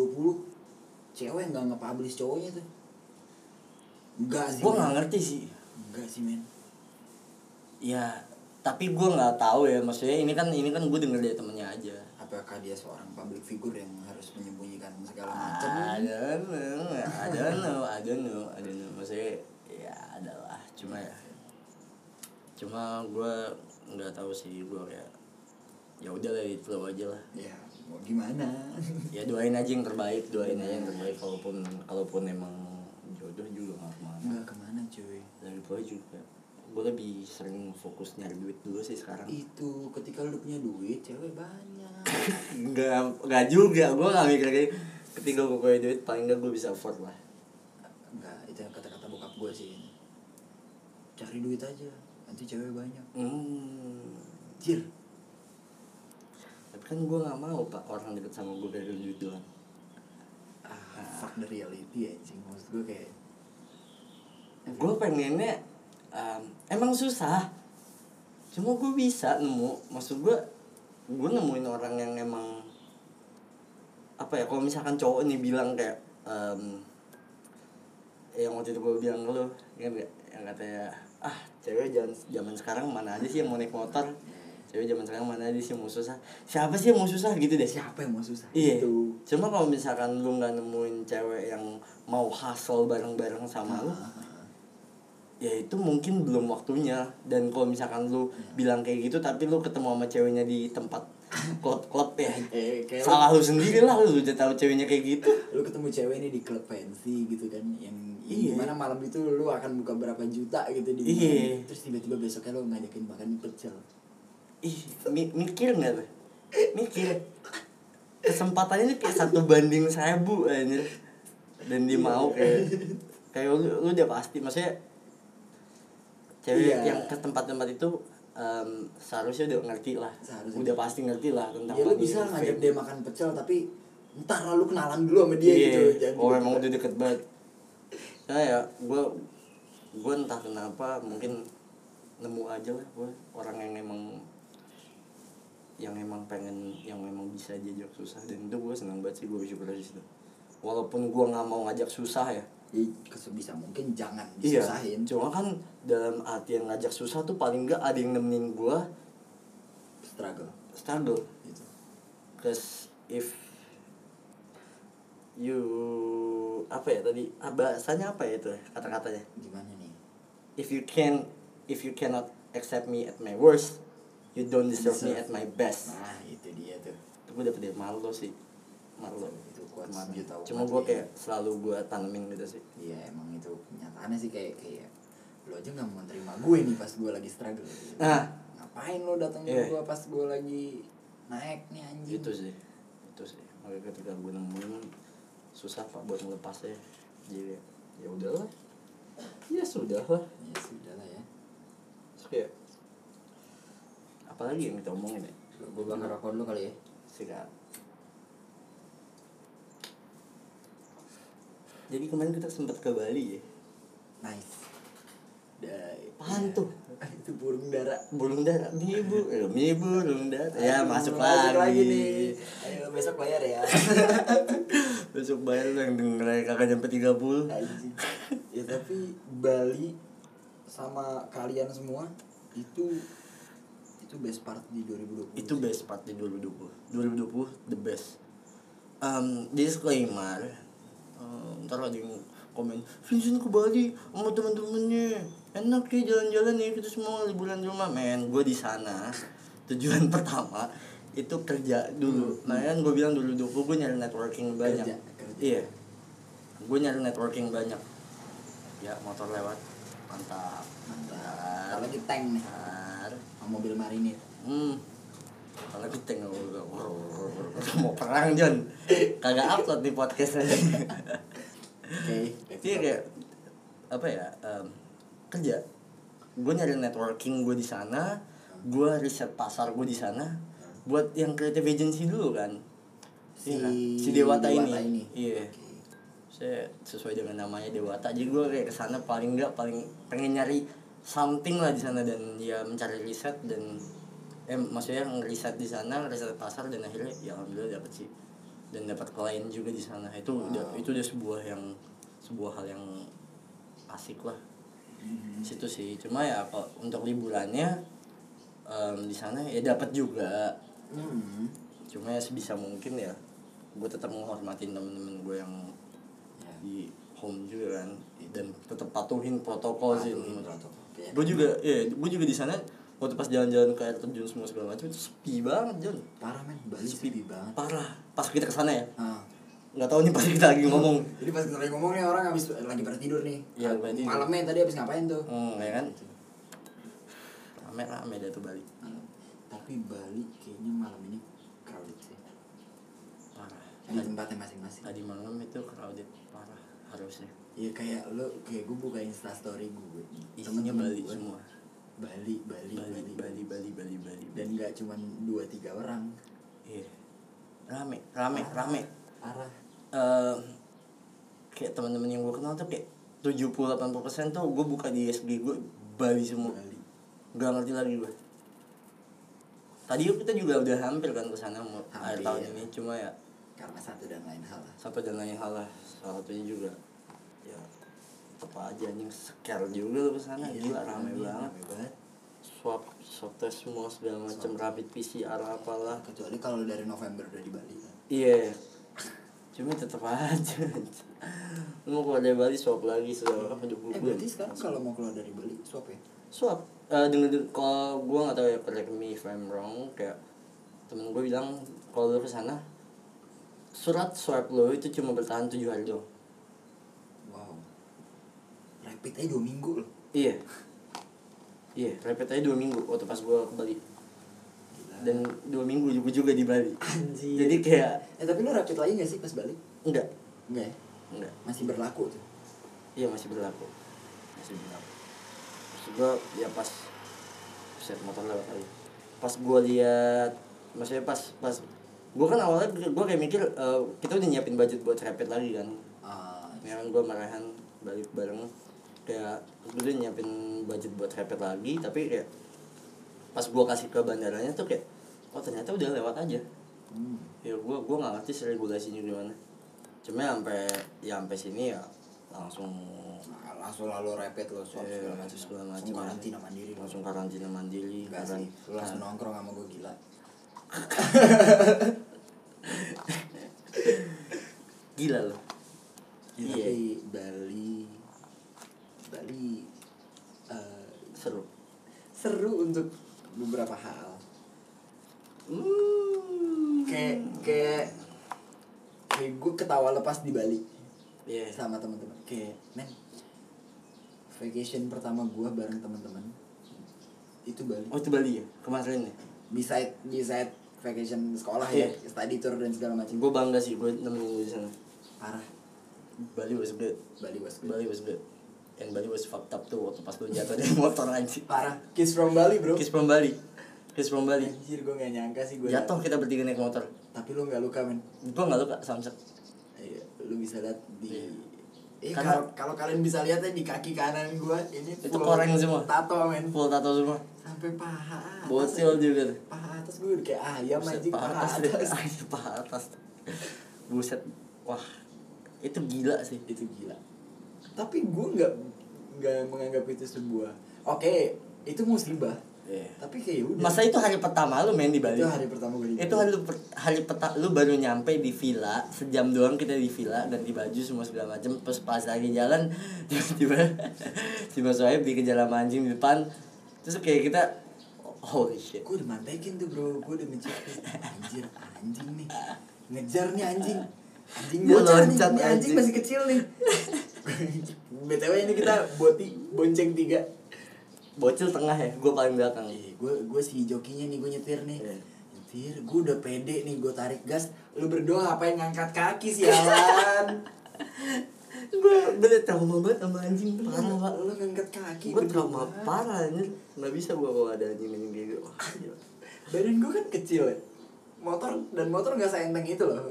[SPEAKER 3] cewek nggak nge-publish cowoknya tuh enggak sih
[SPEAKER 2] Gue
[SPEAKER 3] men.
[SPEAKER 2] gak ngerti sih.
[SPEAKER 3] enggak sih men
[SPEAKER 2] Ya, tapi gue gak tahu ya. Maksudnya ini kan ini kan gue denger dari temennya aja.
[SPEAKER 3] apakah dia seorang public figure yang harus menyembunyikan
[SPEAKER 2] Ah.
[SPEAKER 3] segala macam
[SPEAKER 2] I don't know, I don't know, I don't know, I don't know. Maksudnya ya adalah cuma ya cuma gue nggak tahu sih gue kayak ya udah lah itu aja lah
[SPEAKER 3] ya mau gimana (laughs)
[SPEAKER 2] ya doain aja yang terbaik doain aja yang terbaik kalaupun kalaupun emang jodoh juga nggak kemana
[SPEAKER 3] enggak kemana cuy
[SPEAKER 2] dari gue Nah, gitu juga gue lebih sering fokus nyari duit dulu sih sekarang (laughs)
[SPEAKER 3] itu ketika lu punya duit cewek banyak
[SPEAKER 2] nggak nggak juga gue nggak mikir kayak ketika gue punya duit paling nggak gue bisa afford lah
[SPEAKER 3] enggak itu yang kata-kata bokap gue sih cari duit aja nanti cewek banyak
[SPEAKER 2] hmm.
[SPEAKER 3] jir
[SPEAKER 2] tapi kan gue nggak mau pak orang deket sama gue dari duit doang
[SPEAKER 3] ah fuck the reality anjing maksud gue kayak
[SPEAKER 2] gue pengennya um, emang susah cuma gue bisa nemu maksud gue gue nemuin orang yang emang apa ya kalau misalkan cowok nih bilang kayak um, yang waktu itu gue bilang ke lu kan yang katanya ah cewek zaman zaman sekarang mana aja sih yang mau naik motor
[SPEAKER 3] ya
[SPEAKER 2] cewek zaman sekarang mana aja sih yang mau susah siapa sih yang mau susah gitu deh
[SPEAKER 3] siapa yang mau susah
[SPEAKER 2] Iya.
[SPEAKER 3] gitu
[SPEAKER 2] Cuma kalau misalkan lu nggak nemuin cewek yang mau hustle bareng-bareng sama
[SPEAKER 3] Ah.
[SPEAKER 2] lu, ya itu mungkin belum waktunya. Dan kalau misalkan lu bilang kayak gitu, tapi lu ketemu sama ceweknya di tempat (laughs) klub-klub ya,
[SPEAKER 3] eh kayak lu-
[SPEAKER 2] salah lu sendiri lah lu udah tahu ceweknya kayak gitu.
[SPEAKER 3] lu ketemu cewek ini di klub fancy gitu kan yang
[SPEAKER 2] Iya.
[SPEAKER 3] yang mana malam itu lu akan buka berapa juta gitu di
[SPEAKER 2] Iya.
[SPEAKER 3] malam. terus tiba-tiba besoknya lu ngajakin makan pecel
[SPEAKER 2] Ih, mi- mikir nggak tuh? Mikir. Kesempatannya tuh kayak satu banding seribu anjir. Dan
[SPEAKER 3] Iya,
[SPEAKER 2] dia mau kayak kayak lu, lu udah pasti maksudnya cewek
[SPEAKER 3] Iya.
[SPEAKER 2] yang ke tempat-tempat itu em, seharusnya udah ngerti lah.
[SPEAKER 3] Seharusnya.
[SPEAKER 2] Udah pasti ngerti lah tentang
[SPEAKER 3] ya lu
[SPEAKER 2] wanita
[SPEAKER 3] bisa
[SPEAKER 2] fame.
[SPEAKER 3] ngajak dia makan pecel tapi ntar lalu kenalan dulu sama dia gitu
[SPEAKER 2] Iya,
[SPEAKER 3] jangan
[SPEAKER 2] oh
[SPEAKER 3] tiba-tiba.
[SPEAKER 2] emang udah deket banget. Nah ya, gue gue entah kenapa mungkin nemu aja lah gue orang yang emang yang emang pengen yang emang bisa diajak susah dan itu gue senang banget sih gue bersyukur di situ walaupun gue nggak mau ngajak susah ya
[SPEAKER 3] Ya, sebisa mungkin jangan
[SPEAKER 2] Iya,
[SPEAKER 3] disusahin
[SPEAKER 2] cuma kan dalam arti yang ngajak susah tuh paling nggak ada yang nemenin gue
[SPEAKER 3] struggle
[SPEAKER 2] struggle
[SPEAKER 3] gitu
[SPEAKER 2] Cause if you apa ya tadi ah, bahasanya apa ya itu ya, kata-katanya
[SPEAKER 3] gimana nih
[SPEAKER 2] if you can if you cannot accept me at my worst you don't deserve me at
[SPEAKER 3] Deserve.
[SPEAKER 2] my best
[SPEAKER 3] nah itu dia tuh
[SPEAKER 2] itu gue dapet dari Marlo sih Marlo
[SPEAKER 3] Itu kuat
[SPEAKER 2] Kemarin.
[SPEAKER 3] sih, tahu
[SPEAKER 2] cuma
[SPEAKER 3] banget
[SPEAKER 2] gue
[SPEAKER 3] ya.
[SPEAKER 2] kayak selalu gue tanemin gitu sih
[SPEAKER 3] iya emang itu kenyataannya sih kayak kayak lo aja nggak mau terima gue nih pas gue lagi struggle
[SPEAKER 2] Nah.
[SPEAKER 3] ngapain lo datang ke
[SPEAKER 2] Iya.
[SPEAKER 3] gue pas gue lagi naik nih anjing
[SPEAKER 2] itu sih itu sih makanya ketika gue nemuin susah pak buat melepasnya jadi ya udahlah ya sudah lah
[SPEAKER 3] ya sudah lah ya
[SPEAKER 2] terus kayak apalagi yang kita omongin ya
[SPEAKER 3] gue bakar rokok dulu kali ya
[SPEAKER 2] sikat jadi kemarin kita sempat ke Bali ya
[SPEAKER 3] nice Dai. Iya.
[SPEAKER 2] Apaan tuh?
[SPEAKER 3] (laughs) itu burung dara
[SPEAKER 2] burung dara mibu eh, mibu burung dara ya
[SPEAKER 3] Aduh,
[SPEAKER 2] masuk, lagi,
[SPEAKER 3] nih ayo besok bayar ya (laughs)
[SPEAKER 2] besok bayar lu yang dengerin kakak sampai 30
[SPEAKER 3] Anjing. ya tapi Bali sama kalian semua itu itu best part di 2020
[SPEAKER 2] itu best part di 2020 2020 the best um, disclaimer um, ntar ada yang komen Vincent ke Bali sama teman-temannya enak ya jalan-jalan ya kita semua liburan di rumah men gue di sana tujuan (laughs) pertama itu kerja dulu nah kan gue bilang dulu dulu gue nyari networking banyak
[SPEAKER 3] Hmm. Kerja, kerja.
[SPEAKER 2] iya gue nyari networking banyak ya motor lewat mantap
[SPEAKER 3] mantap
[SPEAKER 2] mantap
[SPEAKER 3] lagi tank nih
[SPEAKER 2] mantap
[SPEAKER 3] sama mobil marinir
[SPEAKER 2] Hmm. Kalau kita nggak nggak- nggak- mau perang John, kagak upload di podcast aja.
[SPEAKER 3] oke
[SPEAKER 2] Jadi kayak apa ya em, kerja. Gue nyari networking gue di sana, gue riset pasar gue di sana. Buat yang creative agency dulu kan.
[SPEAKER 3] si,
[SPEAKER 2] Iya kan? si Dewata, ini. Iya.
[SPEAKER 3] Oke.
[SPEAKER 2] Saya sesuai dengan namanya Dewata. Jadi gue kayak kesana paling nggak paling pengen nyari something lah di sana dan ya mencari riset dan eh maksudnya ngeriset di sana, riset pasar dan akhirnya ya alhamdulillah dapet sih dan dapat klien juga di sana itu udah itu udah sebuah yang sebuah hal yang asik lah
[SPEAKER 3] Mhm.
[SPEAKER 2] situ sih cuma ya kalau untuk liburannya em, di sana ya dapat juga
[SPEAKER 3] Mhm.
[SPEAKER 2] cuma ya sebisa mungkin ya gue tetap menghormatin temen-temen gue yang
[SPEAKER 3] Ya.
[SPEAKER 2] di home juga kan dan tetap patuhin protokol sih
[SPEAKER 3] Patuhin
[SPEAKER 2] menurut
[SPEAKER 3] protokol, ya.
[SPEAKER 2] gue juga ya gue juga di sana waktu pas jalan-jalan ke air terjun semua segala macam itu sepi banget John
[SPEAKER 3] parah men Bali sepi banget
[SPEAKER 2] parah pas kita kesana ya
[SPEAKER 3] Ah.
[SPEAKER 2] nggak tahu nih pas kita lagi ngomong
[SPEAKER 3] Jadi pas kita lagi ngomong nih orang habis lagi pada tidur nih.
[SPEAKER 2] Iya, pada tidur.
[SPEAKER 3] Malamnya tadi habis ngapain tuh?
[SPEAKER 2] hmm, ya kan rame-rame dah tuh Bali
[SPEAKER 3] Malam. Tapi Bali kayaknya malam ini crowded sih.
[SPEAKER 2] parah
[SPEAKER 3] Di tempatnya masing-masing.
[SPEAKER 2] tadi malam itu crowded parah harusnya
[SPEAKER 3] Iya kayak lo kayak gue buka Insta story gue.
[SPEAKER 2] Isinya Bali semua.
[SPEAKER 3] Bali, Bali,
[SPEAKER 2] Bali Bali Bali Bali Bali
[SPEAKER 3] Dan nggak cuman dua tiga orang.
[SPEAKER 2] iya rame rame rame
[SPEAKER 3] Arah.
[SPEAKER 2] eh kayak teman-teman yang gue kenal tuh kayak 70-80% tuh gue buka di SG gue Bali semua
[SPEAKER 3] Bali.
[SPEAKER 2] Gak ngerti lagi gue Tadi kita juga udah hampir kan ke sana mau akhir
[SPEAKER 3] Hampir.
[SPEAKER 2] tahun ini Cuma ya
[SPEAKER 3] Karena satu dan lain hal lah.
[SPEAKER 2] satu dan lain hal lah Salah satunya juga Ya apa aja anjing scare juga lu kesana
[SPEAKER 3] Iya,
[SPEAKER 2] Gila rame
[SPEAKER 3] iya,
[SPEAKER 2] banget
[SPEAKER 3] Rame banget.
[SPEAKER 2] Swab, swab test semua segala macam Rapid PCR apalah
[SPEAKER 3] Kecuali kalau dari November udah di Bali. kan.
[SPEAKER 2] Iya. Cuma tetap aja. Lu mau keluar dari Bali swab lagi sudah apa dua puluh
[SPEAKER 3] Eh
[SPEAKER 2] bulan.
[SPEAKER 3] berarti sekarang kalau mau keluar dari Bali swab ya?
[SPEAKER 2] Swab. Eh dengan kalau gue nggak tahu ya correct me if I'm wrong kayak temen gue bilang kalau lu kesana surat swab lo itu cuma bertahan tujuh hari doang.
[SPEAKER 3] Wow. Rapid aja dua minggu loh.
[SPEAKER 2] Iya. Iya, rapid aja dua minggu waktu pas gue ke Bali
[SPEAKER 3] Gila.
[SPEAKER 2] dan dua minggu juga juga di Bali.
[SPEAKER 3] Anjir.
[SPEAKER 2] Jadi kayak
[SPEAKER 3] Eh tapi lu rapid lagi gak sih pas balik?
[SPEAKER 2] enggak,
[SPEAKER 3] Enggak ya?
[SPEAKER 2] enggak.
[SPEAKER 3] Masih berlaku tuh.
[SPEAKER 2] Iya masih berlaku Masih berlaku Maksud gue ya pas Set motor lewat kali Pas gue lihat Maksudnya pas pas Gue kan awalnya gue kayak mikir eh, Kita udah nyiapin budget buat rapid lagi kan
[SPEAKER 3] Ah,
[SPEAKER 2] Ya gue marahan balik bareng Kayak gue udah nyiapin budget buat rapid lagi Tapi kayak Pas gue kasih ke bandaranya tuh kayak Oh ternyata udah lewat aja
[SPEAKER 3] hmm.
[SPEAKER 2] ya gua gua nggak ngerti sih regulasinya gimana cuma ya sampai ya sampai sini ya langsung
[SPEAKER 3] Nah, langsung lalu rapid lo swab
[SPEAKER 2] eh,
[SPEAKER 3] Iya, segala
[SPEAKER 2] langsung
[SPEAKER 3] macam.
[SPEAKER 2] segala
[SPEAKER 3] Langsung
[SPEAKER 2] macam
[SPEAKER 3] karantina mandiri. lo.
[SPEAKER 2] langsung karantina mandiri
[SPEAKER 3] Enggak
[SPEAKER 2] karan- Nah,
[SPEAKER 3] sih. Lu langsung nongkrong sama gue gila.
[SPEAKER 2] gila loh iya
[SPEAKER 3] Iya. Tapi Bali Bali eh
[SPEAKER 2] seru
[SPEAKER 3] seru untuk beberapa hal
[SPEAKER 2] Hmm.
[SPEAKER 3] kayak kayak kayak gue ketawa lepas di Bali
[SPEAKER 2] Iya.
[SPEAKER 3] sama teman-teman kayak men vacation pertama gue bareng teman-teman itu Bali
[SPEAKER 2] Oh itu Bali ya kemarin ya.
[SPEAKER 3] beside beside vacation sekolah ya
[SPEAKER 2] Iya.
[SPEAKER 3] study tour dan segala macam
[SPEAKER 2] Gue bangga sih gue nemenin lu di sana.
[SPEAKER 3] parah
[SPEAKER 2] Bali was good.
[SPEAKER 3] Bali was good.
[SPEAKER 2] Bali was good. And Bali was fucked up tuh waktu pas lu jatuh dari (laughs) motor anjing.
[SPEAKER 3] parah kiss from Bali bro
[SPEAKER 2] Kiss from Bali. Kiss from Bali.
[SPEAKER 3] anjir gue gak nyangka sih gue
[SPEAKER 2] Jatuh kita bertiga naik motor.
[SPEAKER 3] tapi lu nggak luka men
[SPEAKER 2] Gue nggak luka samsak.
[SPEAKER 3] Iya, lu bisa lihat di
[SPEAKER 2] Iya.
[SPEAKER 3] Eh,
[SPEAKER 2] Karena-
[SPEAKER 3] kalau kalau kalian bisa lihat ya di kaki kanan gua ini
[SPEAKER 2] Kan- Itu
[SPEAKER 3] full
[SPEAKER 2] koreng semua.
[SPEAKER 3] Tato men.
[SPEAKER 2] Full tato semua.
[SPEAKER 3] Sampai paha. atas.
[SPEAKER 2] Bocil juga. tuh.
[SPEAKER 3] Paha atas gue kayak ayam
[SPEAKER 2] Buset,
[SPEAKER 3] anjing paha atas.
[SPEAKER 2] deh. (laughs) Anjing, Paha atas. Buset. Wah. Itu gila sih.
[SPEAKER 3] itu gila. Tapi gua nggak nggak menganggap itu sebuah Oke, itu musibah.
[SPEAKER 2] Iya.
[SPEAKER 3] Tapi kayak ya udah.
[SPEAKER 2] Masa itu hari pertama lu main di Bali?
[SPEAKER 3] Itu hari pertama gue di Bali.
[SPEAKER 2] Itu hari lu per- hari peta lu baru nyampe di villa, sejam doang kita di villa dan di baju semua segala macam. Terus pas lagi jalan (laughs) tiba-tiba si Mas Wahib dikejar sama anjing di depan. Terus kayak kita holy shit.
[SPEAKER 3] gue udah mantekin tuh bro gue udah ngejar Eh, anjir anjing nih ngejar nih anjing anjing
[SPEAKER 2] Dia
[SPEAKER 3] bocah nih,
[SPEAKER 2] loncat,
[SPEAKER 3] nih anjing
[SPEAKER 2] anjing.
[SPEAKER 3] masih kecil nih btw ini kita boti bonceng tiga
[SPEAKER 2] Bocil tengah ya, gue paling belakang.
[SPEAKER 3] gue gue si jokinya nih gue nyetir nih
[SPEAKER 2] Iya.
[SPEAKER 3] nyetir gue udah pede nih gue tarik gas lu berdua ngapain ngangkat kaki
[SPEAKER 2] (laughs)
[SPEAKER 3] sialan
[SPEAKER 2] Gue bener trauma banget sama anjing
[SPEAKER 3] lu,
[SPEAKER 2] parah pak.
[SPEAKER 3] lu ngangkat kaki
[SPEAKER 2] Gue
[SPEAKER 3] berdua.
[SPEAKER 2] trauma parah anjir. Nggak bisa gue kalau ada anjing anjing kayak gitu. Wah, gila.
[SPEAKER 3] badan gue kan kecil ya motor dan motor nggak seenteng itu loh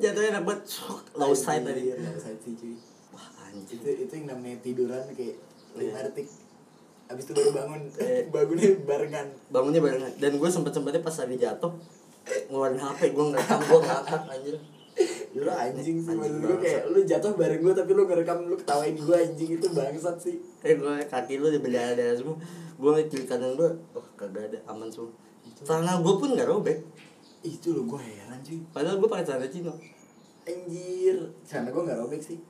[SPEAKER 2] Jatuhnya enak banget, Sok, low side tadi.
[SPEAKER 3] Iya, low side sih cuy
[SPEAKER 2] Wah anjing.
[SPEAKER 3] itu itu yang namanya tiduran kayak lima
[SPEAKER 2] Iya.
[SPEAKER 3] detik abis itu baru (laughs) bangun
[SPEAKER 2] Eh.
[SPEAKER 3] bangunnya barengan
[SPEAKER 2] bangunnya barengan dan gue sempet sempetnya pas lagi jatuh ngeluarin hp gue ngerekam gue ngakak anjir
[SPEAKER 3] Ya lu anjing sih
[SPEAKER 2] Anjing
[SPEAKER 3] menurut gue kayak
[SPEAKER 2] bangsat.
[SPEAKER 3] lu jatuh bareng gue tapi lu ngerekam lu ketawain gue anjing itu bangsat sih
[SPEAKER 2] eh gue kaki lu dibedah ada semua gue ngecil kanan gue oh kagak ada aman semua celana gue pun nggak robek
[SPEAKER 3] itu lo gue heran cuy
[SPEAKER 2] padahal gue pakai celana cino
[SPEAKER 3] anjir karena gue nggak robek sih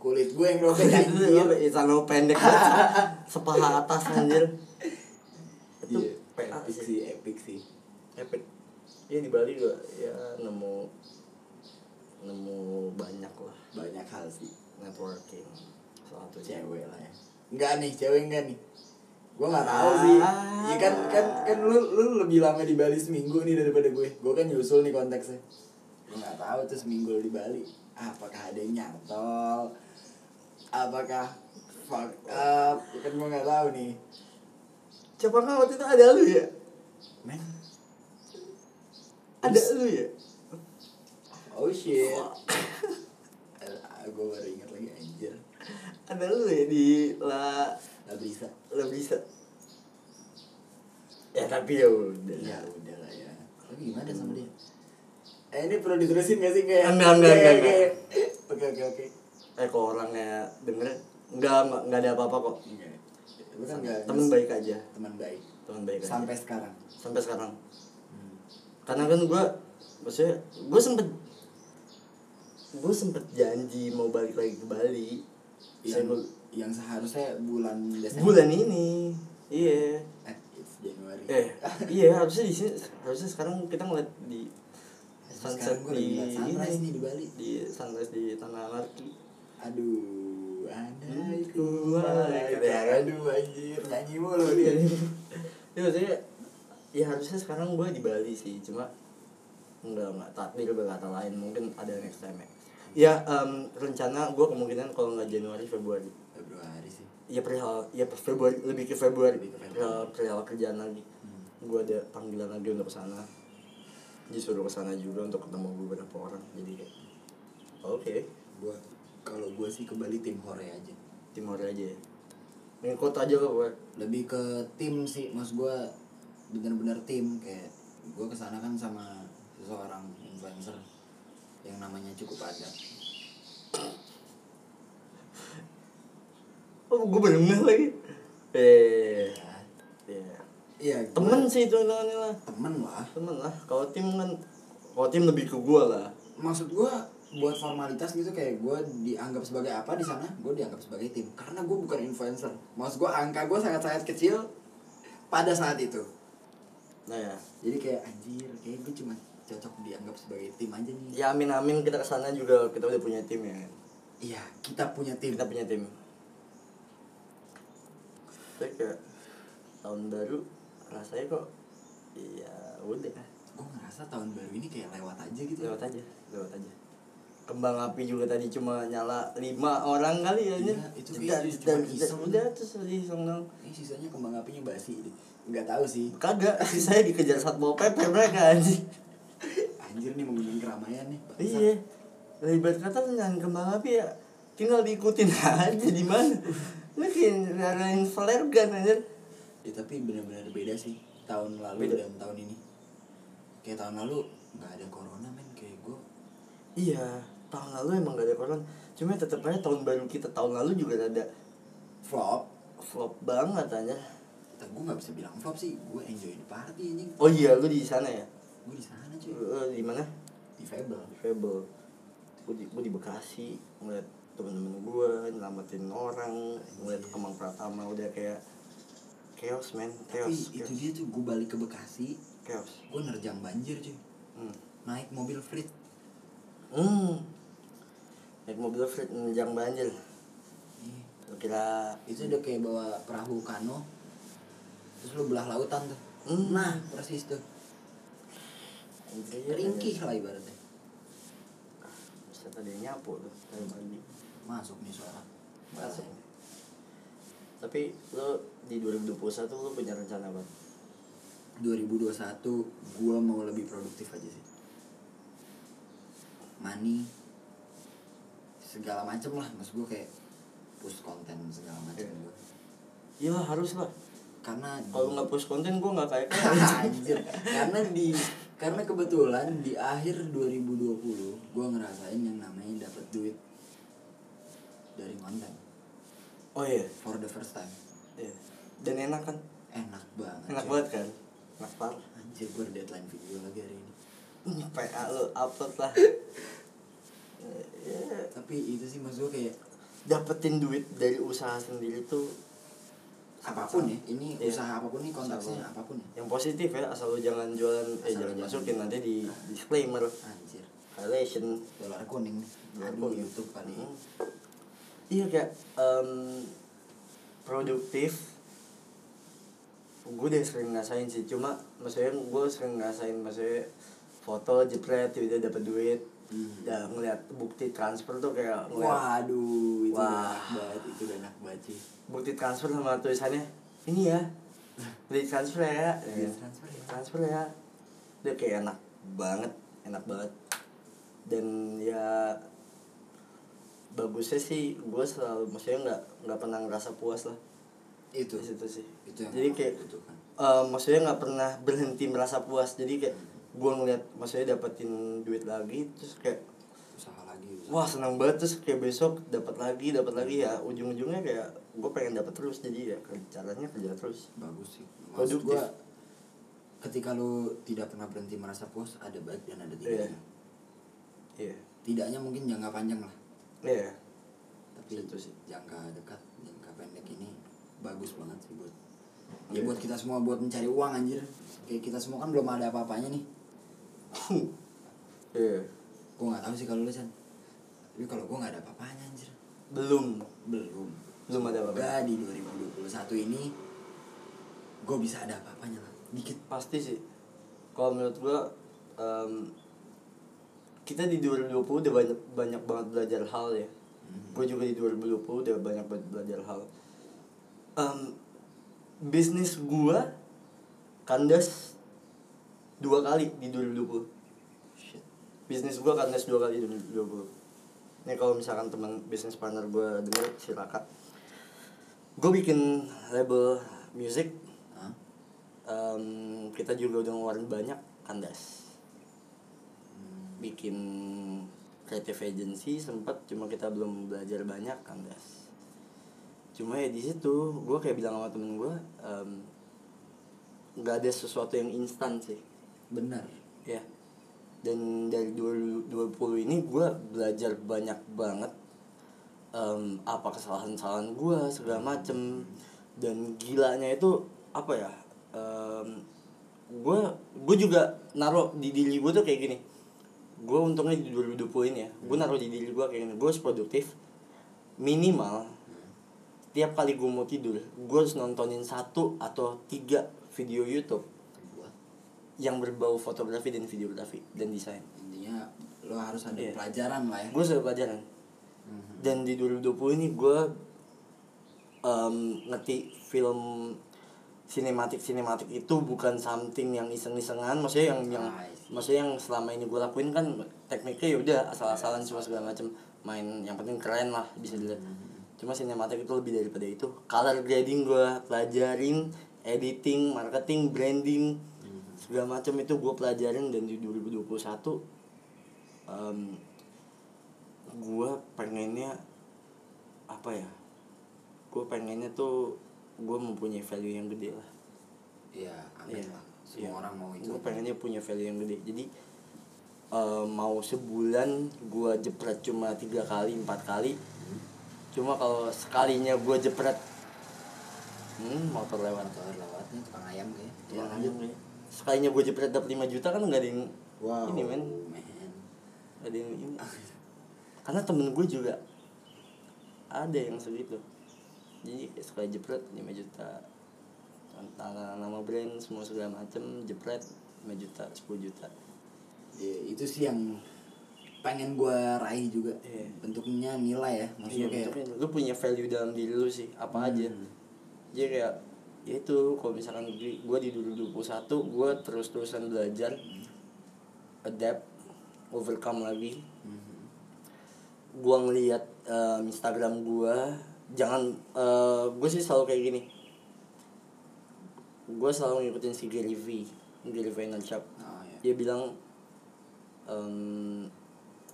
[SPEAKER 3] kulit gue (laughs) yang robek
[SPEAKER 2] itu tuh
[SPEAKER 3] anjir
[SPEAKER 2] Iya, robek Ih, celana gua pendek banget sepaha atas anjir itu
[SPEAKER 3] Iya,
[SPEAKER 2] PA
[SPEAKER 3] epic
[SPEAKER 2] sih.
[SPEAKER 3] sih epic sih
[SPEAKER 2] epic ya di Bali gue ya nemu nemu banyak lah
[SPEAKER 3] banyak hal sih
[SPEAKER 2] networking salah satunya
[SPEAKER 3] cewek lah ya enggak nih cewek enggak nih gue nggak tahu sih ya kan kan kan lu lu lebih lama di Bali seminggu nih daripada gue gue kan nyusul nih konteksnya gue nggak tahu tuh seminggu lu di Bali apakah ada yang nyantol apakah fuck up Ya kan gue nggak tahu nih
[SPEAKER 2] siapa kan waktu itu ada lu ya
[SPEAKER 3] men
[SPEAKER 2] ada lu ya
[SPEAKER 3] oh shit (coughs) gue baru ingat lagi anjir
[SPEAKER 2] ada lu ya di la
[SPEAKER 3] nggak bisa
[SPEAKER 2] la bisa ya tapi ya udah
[SPEAKER 3] ya udah lah ya lu gimana sama dia eh ini perlu diterusin gak sih kayak
[SPEAKER 2] Hmm. Enggak, enggak,
[SPEAKER 3] kayak-
[SPEAKER 2] enggak,
[SPEAKER 3] kayak- oke oke oke
[SPEAKER 2] eh kalau orangnya denger enggak enggak, enggak ada apa-apa kok
[SPEAKER 3] Enggak. Lu kan enggak
[SPEAKER 2] temen baik aja
[SPEAKER 3] teman baik
[SPEAKER 2] temen baik aja
[SPEAKER 3] sampai sekarang.
[SPEAKER 2] sampai sekarang karena kan gue maksudnya gue sempet gue sempet janji mau balik lagi ke Bali
[SPEAKER 3] Yang,
[SPEAKER 2] Saya gua-
[SPEAKER 3] yang seharusnya bulan Desember.
[SPEAKER 2] bulan ini iya
[SPEAKER 3] Eh, it's January.
[SPEAKER 2] Eh, iya harusnya di sini harusnya sekarang kita ngeliat di sunset
[SPEAKER 3] sekarang gue lagi
[SPEAKER 2] di
[SPEAKER 3] lihat sunrise
[SPEAKER 2] ini,
[SPEAKER 3] nih di Bali.
[SPEAKER 2] di sunrise di tanah Larki.
[SPEAKER 3] (laughs) Aduh, andai
[SPEAKER 2] Hmm.
[SPEAKER 3] ku
[SPEAKER 2] Keren.
[SPEAKER 3] malaikat. Aduh anjir, nyanyi mulu
[SPEAKER 2] Iya,
[SPEAKER 3] dia.
[SPEAKER 2] ya, maksudnya ya harusnya sekarang gue di Bali sih, cuma enggak enggak takdir berkata lain mungkin ada next time ya. Ya em, rencana gue kemungkinan kalau nggak Januari Februari
[SPEAKER 3] Februari sih.
[SPEAKER 2] ya perihal ya Februari lebih ke Februari
[SPEAKER 3] Lebih ke Februari. Hmm.
[SPEAKER 2] perihal, perihal kerjaan lagi gue ada panggilan lagi untuk kesana disuruh kesana juga untuk ketemu beberapa orang jadi kayak oke
[SPEAKER 3] Gua kalau gue sih ke Bali tim hore aja.
[SPEAKER 2] timur aja ya ngikut aja lah gue
[SPEAKER 3] lebih ke tim sih mas gue bener-bener tim kayak gue kesana kan sama seseorang influencer yang namanya cukup ada
[SPEAKER 2] oh gue bener lagi eh ya
[SPEAKER 3] iya gua-
[SPEAKER 2] temen sih itu hitungannya lah
[SPEAKER 3] temen lah
[SPEAKER 2] temen lah kalau tim kan kalau tim lebih ke gue lah
[SPEAKER 3] maksud gue buat formalitas gitu kayak gue dianggap sebagai apa di sana gue dianggap sebagai tim karena gue bukan influencer maksud gue angka gue sangat sangat kecil pada saat itu
[SPEAKER 2] Nah ya,
[SPEAKER 3] jadi kayak anjir kayak gue cuma cocok dianggap sebagai tim aja nih
[SPEAKER 2] ya amin amin kita kesana juga kita udah punya tim ya. kan?
[SPEAKER 3] iya kita punya tim
[SPEAKER 2] Kita punya tim. Tapi kayak tahun baru rasanya kok iya udah
[SPEAKER 3] gue ngerasa tahun baru ini kayak lewat aja gitu
[SPEAKER 2] lewat aja lewat aja kembang api juga tadi cuma nyala lima orang kali ya
[SPEAKER 3] Iya,
[SPEAKER 2] Nyer.
[SPEAKER 3] itu
[SPEAKER 2] Jedar, jedar,
[SPEAKER 3] kayaknya cuma
[SPEAKER 2] jedar.
[SPEAKER 3] iseng.
[SPEAKER 2] udah terus iseng dong
[SPEAKER 3] ini sisanya kembang apinya basi deh nggak tahu sih
[SPEAKER 2] kagak (laughs) saya dikejar satpol pp mereka anjing
[SPEAKER 3] anjir nih mengundang keramaian nih bangsa.
[SPEAKER 2] iya lebar kata dengan kembang api ya tinggal diikutin (laughs) aja di mana mungkin ngarahin flare gun aja
[SPEAKER 3] Ya, tapi benar-benar beda sih tahun lalu
[SPEAKER 2] Beda.
[SPEAKER 3] dan tahun ini kayak tahun lalu nggak ada corona men kayak gue
[SPEAKER 2] iya tahun lalu emang gak ada corona cuma tetep aja tahun baru kita tahun lalu juga ada
[SPEAKER 3] flop
[SPEAKER 2] flop banget aja
[SPEAKER 3] tapi gue nggak bisa bilang flop sih gue enjoy the party anjing
[SPEAKER 2] oh iya lu di sana ya
[SPEAKER 3] gue di sana cuy
[SPEAKER 2] Lu, eh, di mana
[SPEAKER 3] di Fable
[SPEAKER 2] di Febel gue di, gua di Bekasi ngeliat temen-temen gue nyelamatin orang ngeliat kemang pratama udah kayak chaos man
[SPEAKER 3] tapi
[SPEAKER 2] chaos
[SPEAKER 3] itu
[SPEAKER 2] chaos,
[SPEAKER 3] dia tuh gue balik ke Bekasi
[SPEAKER 2] chaos.
[SPEAKER 3] gue nerjang banjir cuy
[SPEAKER 2] Hmm.
[SPEAKER 3] naik mobil frit
[SPEAKER 2] hmm. naik mobil Fred menjang banjir
[SPEAKER 3] Ih,
[SPEAKER 2] Lu kira
[SPEAKER 3] itu udah kayak bawa perahu kano terus lu belah lautan tuh
[SPEAKER 2] Hmm. Iya,
[SPEAKER 3] nah persis tuh
[SPEAKER 2] anjir,
[SPEAKER 3] ringkih lah ibaratnya
[SPEAKER 2] bisa tadi nyapu tuh dari pagi.
[SPEAKER 3] masuk nih suara
[SPEAKER 2] Masuk. tapi lo di 2021 lo punya rencana apa
[SPEAKER 3] 2021 gua mau lebih produktif aja sih money segala macem lah maksud gua kayak push konten segala macem
[SPEAKER 2] Iya.
[SPEAKER 3] gua.
[SPEAKER 2] iya lah, harus lah
[SPEAKER 3] karena di-
[SPEAKER 2] kalau nggak post konten gue nggak kayak
[SPEAKER 3] (laughs) Anjir. karena di karena kebetulan di akhir 2020 gua ngerasain yang namanya dapat duit dari konten
[SPEAKER 2] (laughs) oh iya
[SPEAKER 3] for the first time
[SPEAKER 2] Iya. Dan enak kan?
[SPEAKER 3] enak banget
[SPEAKER 2] Enak
[SPEAKER 3] cuy.
[SPEAKER 2] banget kan? Enak (laughs) parah.
[SPEAKER 3] anjir gua ada deadline video lagi hari ini
[SPEAKER 2] Ini PA lo upload (laughs) lah. Eh, ya,
[SPEAKER 3] tapi itu sih maksud gua kayak
[SPEAKER 2] Dapetin duit dari usaha sendiri tuh
[SPEAKER 3] apapun ya ini
[SPEAKER 2] Iya.
[SPEAKER 3] usaha apapun nih konteksnya
[SPEAKER 2] Usaha
[SPEAKER 3] apapun ya
[SPEAKER 2] yang positif ya asal lo jangan jualan eh
[SPEAKER 3] Asal
[SPEAKER 2] jangan
[SPEAKER 3] jangan.
[SPEAKER 2] masukin nanti di disclaimer
[SPEAKER 3] anjir
[SPEAKER 2] violation
[SPEAKER 3] dolar kuning
[SPEAKER 2] Dolar
[SPEAKER 3] aduh
[SPEAKER 2] kuning.
[SPEAKER 3] Kan YouTube ya. kali
[SPEAKER 2] Mm. iya kayak em, produktif gue udah sering ngerasain sih cuma maksudnya gue sering ngerasain maksudnya foto jepret tiba-tiba dapet duit
[SPEAKER 3] Hmm.
[SPEAKER 2] dan ngeliat bukti transfer tuh kayak ngeliat
[SPEAKER 3] waduh itu
[SPEAKER 2] Wah.
[SPEAKER 3] enak banget itu enak banget sih
[SPEAKER 2] bukti transfer sama tulisannya ini ya beli transfer ya Ya.
[SPEAKER 3] Beli transfer ya.
[SPEAKER 2] transfer ya udah kayak enak banget enak banget dan ya bagusnya sih gue selalu maksudnya nggak nggak pernah ngerasa puas lah
[SPEAKER 3] itu
[SPEAKER 2] di situ sih
[SPEAKER 3] itu yang
[SPEAKER 2] Iya. jadi
[SPEAKER 3] orang
[SPEAKER 2] kayak
[SPEAKER 3] butuhkan.
[SPEAKER 2] eh, maksudnya nggak pernah berhenti merasa puas jadi kayak gue ngeliat maksudnya dapetin duit lagi terus kayak
[SPEAKER 3] usaha lagi usaha.
[SPEAKER 2] wah senang banget terus kayak besok dapat lagi dapat lagi ya ujung-ujungnya kayak gue pengen dapat terus jadi ya ke- caranya kerja terus
[SPEAKER 3] bagus sih
[SPEAKER 2] Produktif.
[SPEAKER 3] maksud gua ketika lu tidak pernah berhenti merasa puas ada baik dan ada
[SPEAKER 2] iya
[SPEAKER 3] tidaknya
[SPEAKER 2] iya
[SPEAKER 3] tidaknya mungkin jangka panjang lah
[SPEAKER 2] iya (laughs)
[SPEAKER 3] tapi
[SPEAKER 2] Itu sih.
[SPEAKER 3] jangka dekat jangka pendek ini bagus banget sih buat ya buat kita semua buat mencari uang anjir kayak kita semua kan belum ada apa-apanya nih
[SPEAKER 2] iya
[SPEAKER 3] gue nggak tahu sih kalau lu Chan tapi kalau gue nggak ada apa-apanya anjir
[SPEAKER 2] belum
[SPEAKER 3] belum
[SPEAKER 2] Belum ada apa-apa.
[SPEAKER 3] Semoga di 2021 ini gue bisa ada apa-apanya lah dikit
[SPEAKER 2] pasti sih kalau menurut gua em, kita di 2020 udah banyak banyak banget belajar hal ya gue juga di 2020 udah banyak banget belajar hal Em, bisnis gua kandas dua kali di 2020
[SPEAKER 3] Shit.
[SPEAKER 2] bisnis gua kandas dua kali di 2020 ini kalau misalkan teman bisnis partner gua denger silakan gue bikin label music
[SPEAKER 3] Hah?
[SPEAKER 2] Em, kita juga udah ngeluarin banyak kandas
[SPEAKER 3] Hmm.
[SPEAKER 2] bikin creative agency sempat cuma kita belum belajar banyak kandas cuma ya di situ gue kayak bilang sama temen gue nggak ada sesuatu yang instan sih
[SPEAKER 3] benar
[SPEAKER 2] ya dan dari 2020 ini gue belajar banyak banget em, apa kesalahan-kesalahan gue segala macem dan gilanya itu apa ya gue gue juga naruh di diri gue tuh kayak gini gue untungnya di 2020 ini ya gue naruh di diri gue kayak gini gue harus produktif minimal tiap kali gue mau tidur gue harus nontonin satu atau tiga video YouTube
[SPEAKER 3] Buat
[SPEAKER 2] yang berbau fotografi dan videografi dan desain
[SPEAKER 3] intinya lo harus ada
[SPEAKER 2] Iya.
[SPEAKER 3] pelajaran lah ya
[SPEAKER 2] gue sudah pelajaran
[SPEAKER 3] Mhm.
[SPEAKER 2] dan di 2020 ini gue ngerti film sinematik sinematik itu bukan something yang iseng-isengan maksudnya yang yang
[SPEAKER 3] Ah, I see.
[SPEAKER 2] maksudnya yang selama ini gue lakuin kan tekniknya ya udah asal-asalan semua segala macam main yang penting keren lah bisa dilihat
[SPEAKER 3] Hmm,
[SPEAKER 2] cuma sinematik itu lebih daripada itu color grading gue pelajarin editing marketing branding
[SPEAKER 3] Hmm.
[SPEAKER 2] segala macam itu gue pelajarin dan di 2021 em, gue pengennya apa ya gue pengennya tuh gue mempunyai value yang gede lah
[SPEAKER 3] iya amin
[SPEAKER 2] Iya.
[SPEAKER 3] lah semua orang mau itu
[SPEAKER 2] gue pengennya punya value yang gede jadi eh, mau sebulan gue jepret cuma tiga kali empat kali cuma kalau sekalinya gue jepret hmm, motor lewat
[SPEAKER 3] motor lewat nih tukang ayam kayaknya
[SPEAKER 2] Ya, lanjut, Bre. sekalinya gue jepret dapat 5 juta kan nggak ada yang
[SPEAKER 3] wow
[SPEAKER 2] ini men
[SPEAKER 3] men
[SPEAKER 2] nggak ada yang ini karena temen gue juga ada yang segitu jadi sekali jepret 5 juta antara nama brand semua segala macem jepret 5 juta 10 juta
[SPEAKER 3] Ya, itu sih yang pengen gue raih juga
[SPEAKER 2] Iya.
[SPEAKER 3] bentuknya nilai ya
[SPEAKER 2] Iya,
[SPEAKER 3] maksudnya kayak
[SPEAKER 2] bentuknya lu punya value dalam diri lu sih apa aja jadi kayak ya itu kalau misalkan gue di 2021 gue terus terusan belajar adapt overcome lagi
[SPEAKER 3] Mhm.
[SPEAKER 2] gue ngelihat em, eh, Instagram gue jangan gue sih selalu kayak gini gue selalu ngikutin si Gary V Gary Vaynerchuk
[SPEAKER 3] Oh, iya.
[SPEAKER 2] dia bilang em,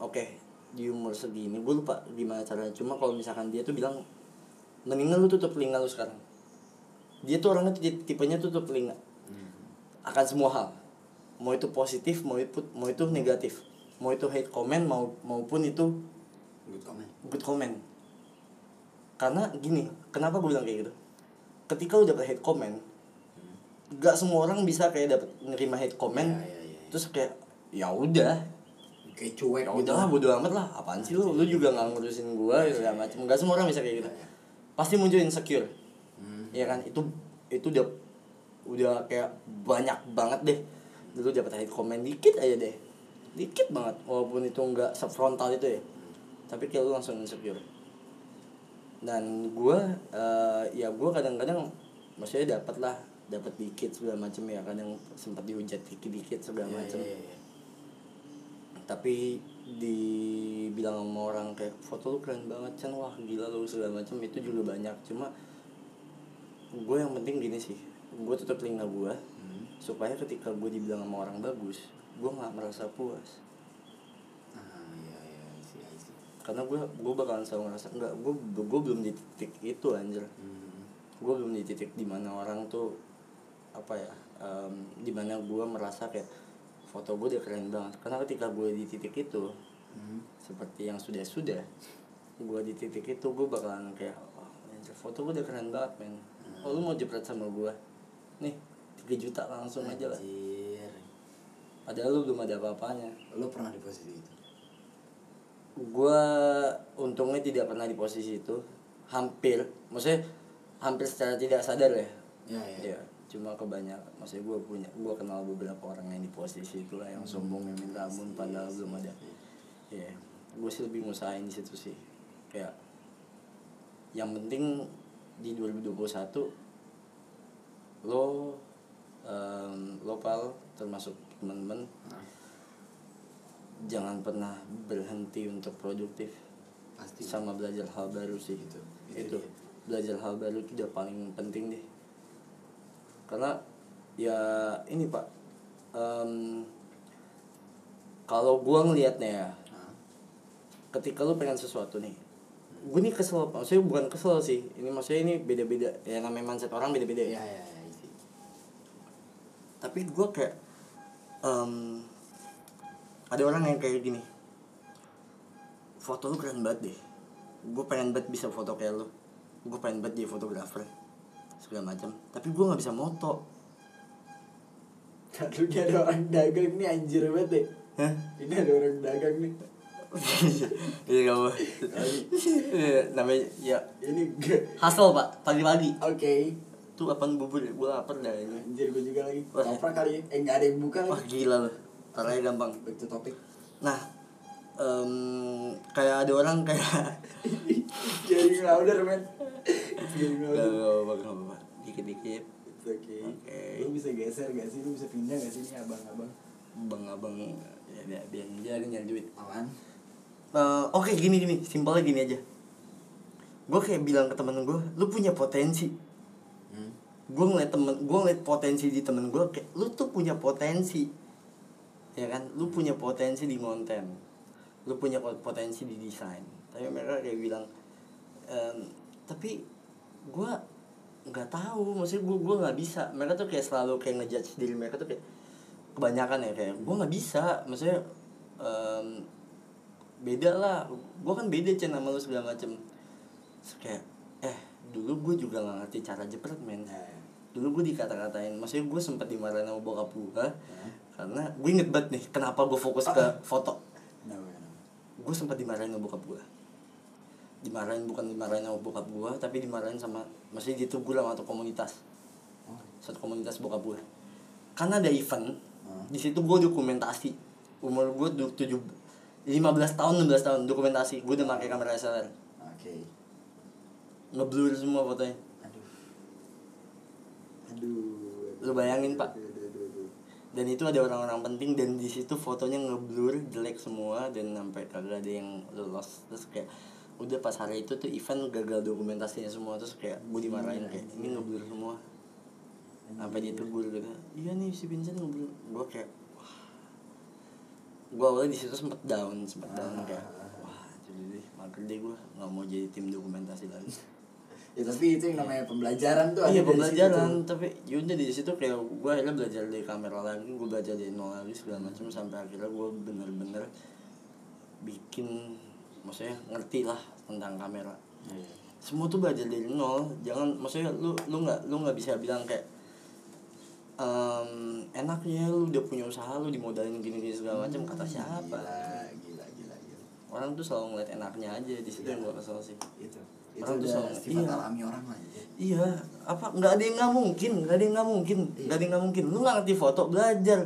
[SPEAKER 2] oke di umur segini gue lupa gimana caranya cuma kalau misalkan dia tuh bilang mendingan lu tutup telinga lu sekarang dia tuh orangnya tipe- tipenya tutup telinga
[SPEAKER 3] Hmm,
[SPEAKER 2] akan semua hal mau itu positif mau itu mau itu negatif mau itu hate comment mau maupun itu
[SPEAKER 3] good comment
[SPEAKER 2] good comment karena gini kenapa gue bilang kayak gitu ketika lu dapet hate comment gak semua orang bisa kayak dapet nerima hate comment
[SPEAKER 3] Hmm. Ya, ya, ya, ya.
[SPEAKER 2] terus kayak ya udah
[SPEAKER 3] kayak cuek
[SPEAKER 2] ya
[SPEAKER 3] gitu
[SPEAKER 2] udah lah bodo amat lah apaan sih lu lu juga nggak ngurusin gua ya segala macem nggak semua orang bisa kayak gitu pasti muncul insecure
[SPEAKER 3] Hmm.
[SPEAKER 2] ya kan itu itu udah udah kayak banyak banget deh lu dapat hate comment dikit aja deh dikit banget walaupun itu nggak sefrontal itu ya tapi kayak lu langsung insecure dan gua eh, ya gua kadang-kadang maksudnya dapat lah dapat dikit segala macem ya kadang sempat dihujat dikit-dikit segala
[SPEAKER 3] Iya,
[SPEAKER 2] macem
[SPEAKER 3] iya, iya.
[SPEAKER 2] tapi dibilang sama orang kayak foto lu keren banget Chan wah gila lu segala macam itu juga banyak cuma gue yang penting gini sih gue tutup telinga gue
[SPEAKER 3] Hmm.
[SPEAKER 2] supaya ketika gue dibilang sama orang bagus gue nggak merasa puas
[SPEAKER 3] Ah, iya, iya, I see, I see.
[SPEAKER 2] karena gue gue bakalan selalu ngerasa enggak gue gue belum di titik itu anjir
[SPEAKER 3] Hmm.
[SPEAKER 2] gue belum di titik dimana orang tuh apa ya em, dimana gue merasa kayak foto gue udah keren banget karena ketika gue di titik itu
[SPEAKER 3] Hmm.
[SPEAKER 2] seperti yang sudah sudah gue di titik itu gue bakalan kayak oh, anjir, foto gue udah keren banget men oh lu mau jepret sama gue nih 3 juta langsung aja lah
[SPEAKER 3] Anjir.
[SPEAKER 2] padahal lu belum ada apa-apanya
[SPEAKER 3] lo pernah di posisi itu
[SPEAKER 2] gue untungnya tidak pernah di posisi itu hampir maksudnya hampir secara tidak sadar ya
[SPEAKER 3] ya ya,
[SPEAKER 2] Iya, cuma kebanyakan maksudnya gue punya gue kenal beberapa orang yang di posisi itu lah yang sombong yang minta ampun padahal belum ada Iya, gue sih lebih ngusahain di situ sih kayak yang penting di 2021 lo em, lo pal termasuk teman-teman
[SPEAKER 3] Hah?
[SPEAKER 2] jangan pernah berhenti untuk produktif
[SPEAKER 3] pasti
[SPEAKER 2] sama belajar hal baru sih
[SPEAKER 3] Itu, itu
[SPEAKER 2] itu
[SPEAKER 3] dia.
[SPEAKER 2] belajar hal baru itu udah paling penting deh karena ya ini pak em, kalau gua ngelihatnya ya
[SPEAKER 3] Hah?
[SPEAKER 2] ketika lu pengen sesuatu nih gue nih kesel maksudnya bukan kesel sih ini maksudnya ini beda-beda ya namanya mindset orang beda-beda ya
[SPEAKER 3] ya ya ya I see.
[SPEAKER 2] tapi gue kayak em, ada orang yang kayak gini foto lu keren banget deh gue pengen banget bisa foto kayak lu gue pengen banget jadi fotografer segala macam tapi gue nggak bisa moto
[SPEAKER 3] Aduh ini ada orang dagang nih anjir banget deh
[SPEAKER 2] Hah? (laughs)
[SPEAKER 3] Ini ada orang dagang nih
[SPEAKER 2] Iya gak apa Namanya ya
[SPEAKER 3] Ini (laughs) gak
[SPEAKER 2] Hustle pak Pagi-pagi
[SPEAKER 3] Oke
[SPEAKER 2] Tuh apaan bubur ya Gue lapar dah ini
[SPEAKER 3] Anjir gue juga lagi
[SPEAKER 2] Wah.
[SPEAKER 3] Toprak kali ya Eh gak ada yang buka
[SPEAKER 2] Wah
[SPEAKER 3] lagi
[SPEAKER 2] gila loh Taranya gampang
[SPEAKER 3] Back to (laughs) topic
[SPEAKER 2] Nah em, Kayak ada orang kayak (laughs)
[SPEAKER 3] Jaring louder men Jaring
[SPEAKER 2] Gak
[SPEAKER 3] louder
[SPEAKER 2] apa-apa gak apa-apa Dikit-dikit
[SPEAKER 3] It's okay
[SPEAKER 2] Oke.
[SPEAKER 3] Lu bisa geser gak sih? Lu bisa pindah gak sih nih abang-abang?
[SPEAKER 2] Abang-abang ya, biar, biar dia ada nyari duit
[SPEAKER 3] Apaan?
[SPEAKER 2] Eh, Oke gini gini Simpelnya gini aja Gue kayak bilang ke temen gue Lu punya potensi
[SPEAKER 3] Hmm.
[SPEAKER 2] gue ngeliat temen gue ngeliat potensi di temen gue kayak lu tuh punya potensi ya kan lu punya potensi di konten lu punya ko- potensi di desain tapi mereka kayak bilang "Em, tapi gue nggak tahu maksudnya gue gue nggak bisa mereka tuh kayak selalu kayak ngejudge diri mereka tuh kayak kebanyakan ya kayak gue nggak bisa maksudnya em, beda lah gue kan beda cen sama lu segala macem Terus kayak eh dulu gue juga nggak ngerti cara jepret men
[SPEAKER 3] Nah,
[SPEAKER 2] dulu gue dikata-katain maksudnya gue sempat dimarahin sama bokap gue karena gue inget banget nih kenapa gue fokus ke foto
[SPEAKER 3] Nah, nah.
[SPEAKER 2] gue sempat dimarahin sama bokap gue dimarahin bukan dimarahin sama bokap gue tapi dimarahin sama maksudnya ditegur sama satu komunitas
[SPEAKER 3] Oh.
[SPEAKER 2] satu komunitas bokap gue karena ada event
[SPEAKER 3] Hmm.
[SPEAKER 2] di situ gue dokumentasi umur gue du- tujuh 15 tahun 16 tahun dokumentasi gue udah pakai kamera SLR
[SPEAKER 3] Oke
[SPEAKER 2] ngeblur semua fotonya
[SPEAKER 3] Aduh Aduh
[SPEAKER 2] Lu bayangin, Pak.
[SPEAKER 3] Aduh, aduh, aduh, aduh.
[SPEAKER 2] dan itu ada orang-orang penting dan di situ fotonya ngeblur jelek semua dan sampai kagak ada yang lolos terus kayak udah pas hari itu tuh event gagal dokumentasinya semua terus kayak gue dimarahin kayak ini ngeblur semua sampai ditegur gitu iya nih si Vincent ngeblur gue kayak wah gue awalnya di situ sempet down sempet down kayak wah jadi deh mager deh gue nggak mau jadi tim dokumentasi lagi
[SPEAKER 3] Ya tapi itu yang namanya pembelajaran tuh
[SPEAKER 2] iya
[SPEAKER 3] ada dari situ tuh.
[SPEAKER 2] pembelajaran tapi yaudah di situ kayak gue akhirnya belajar dari kamera lagi gue belajar dari nol lagi segala macam sampai akhirnya gue bener-bener bikin maksudnya ngerti lah tentang kamera
[SPEAKER 3] Iya.
[SPEAKER 2] semua tuh belajar dari nol jangan maksudnya lu lu nggak lu nggak bisa bilang kayak "Em, enaknya lu udah punya usaha lu dimodalin gini-gini segala macam
[SPEAKER 3] Hmm,
[SPEAKER 2] kata siapa
[SPEAKER 3] Gila, gila, gila, gila.
[SPEAKER 2] orang tuh selalu ngeliat enaknya aja di situ yang gue kesel sih
[SPEAKER 3] Itu.
[SPEAKER 2] Orang tuh
[SPEAKER 3] itu udah
[SPEAKER 2] sama-
[SPEAKER 3] sifat
[SPEAKER 2] iya.
[SPEAKER 3] alami orang lah. ya.
[SPEAKER 2] Iya, apa nggak ada yang nggak mungkin, nggak ada yang nggak mungkin, nggak ada yang nggak mungkin. Lu nggak ngerti foto, belajar,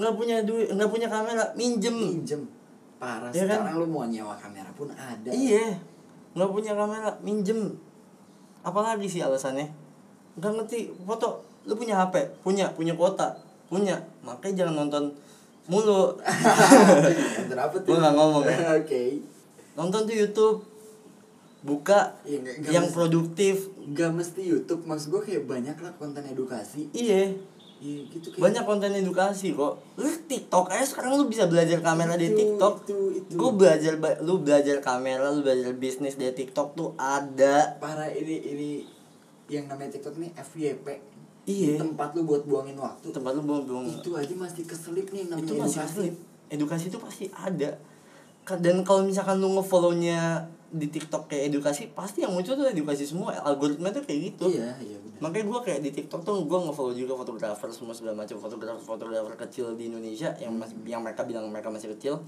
[SPEAKER 2] nggak punya duit, nggak punya kamera, minjem.
[SPEAKER 3] Pinjem. Parah
[SPEAKER 2] Iya kan?
[SPEAKER 3] sekarang lu mau nyewa kamera pun ada. (laughs)
[SPEAKER 2] Iya, nggak punya kamera, minjem. Apalagi sih alasannya? Nggak ngerti foto. Lu punya HP, punya, punya kuota, punya. Makanya jangan nonton mulu.
[SPEAKER 3] (laughs) Ntar apa tuh?
[SPEAKER 2] Gua nggak ngomong ya.
[SPEAKER 3] (laughs) Oke.
[SPEAKER 2] nonton tuh YouTube, buka
[SPEAKER 3] Iya, nggak- nggak
[SPEAKER 2] yang
[SPEAKER 3] mesti.
[SPEAKER 2] produktif.
[SPEAKER 3] Gak mesti YouTube, maksud gue kayak banyak lah konten edukasi.
[SPEAKER 2] Iya,
[SPEAKER 3] Iya gitu kayak.
[SPEAKER 2] banyak konten edukasi kok lu TikTok aja sekarang lu bisa belajar kamera dari
[SPEAKER 3] Itu,
[SPEAKER 2] TikTok
[SPEAKER 3] itu, itu.
[SPEAKER 2] gue belajar ba- lu belajar kamera lu belajar bisnis dari TikTok tuh ada
[SPEAKER 3] Parah ini ini yang namanya TikTok nih FYP.
[SPEAKER 2] Iya.
[SPEAKER 3] Tempat lu buat buangin waktu.
[SPEAKER 2] tempat lu buang buang
[SPEAKER 3] Itu iya, aja masih keselip nih namanya
[SPEAKER 2] itu masih
[SPEAKER 3] edukasi.
[SPEAKER 2] asli edukasi itu pasti ada Ka- dan kalau misalkan lu ngefollownya di TikTok kayak edukasi pasti yang muncul tuh edukasi semua algoritma tuh kayak gitu
[SPEAKER 3] Iya, iya benar.
[SPEAKER 2] makanya gue kayak di TikTok tuh gue ngefollow juga fotografer semua segala macam fotografer fotografer kecil di Indonesia yang
[SPEAKER 3] Hmm.
[SPEAKER 2] mas- yang mereka bilang mereka masih kecil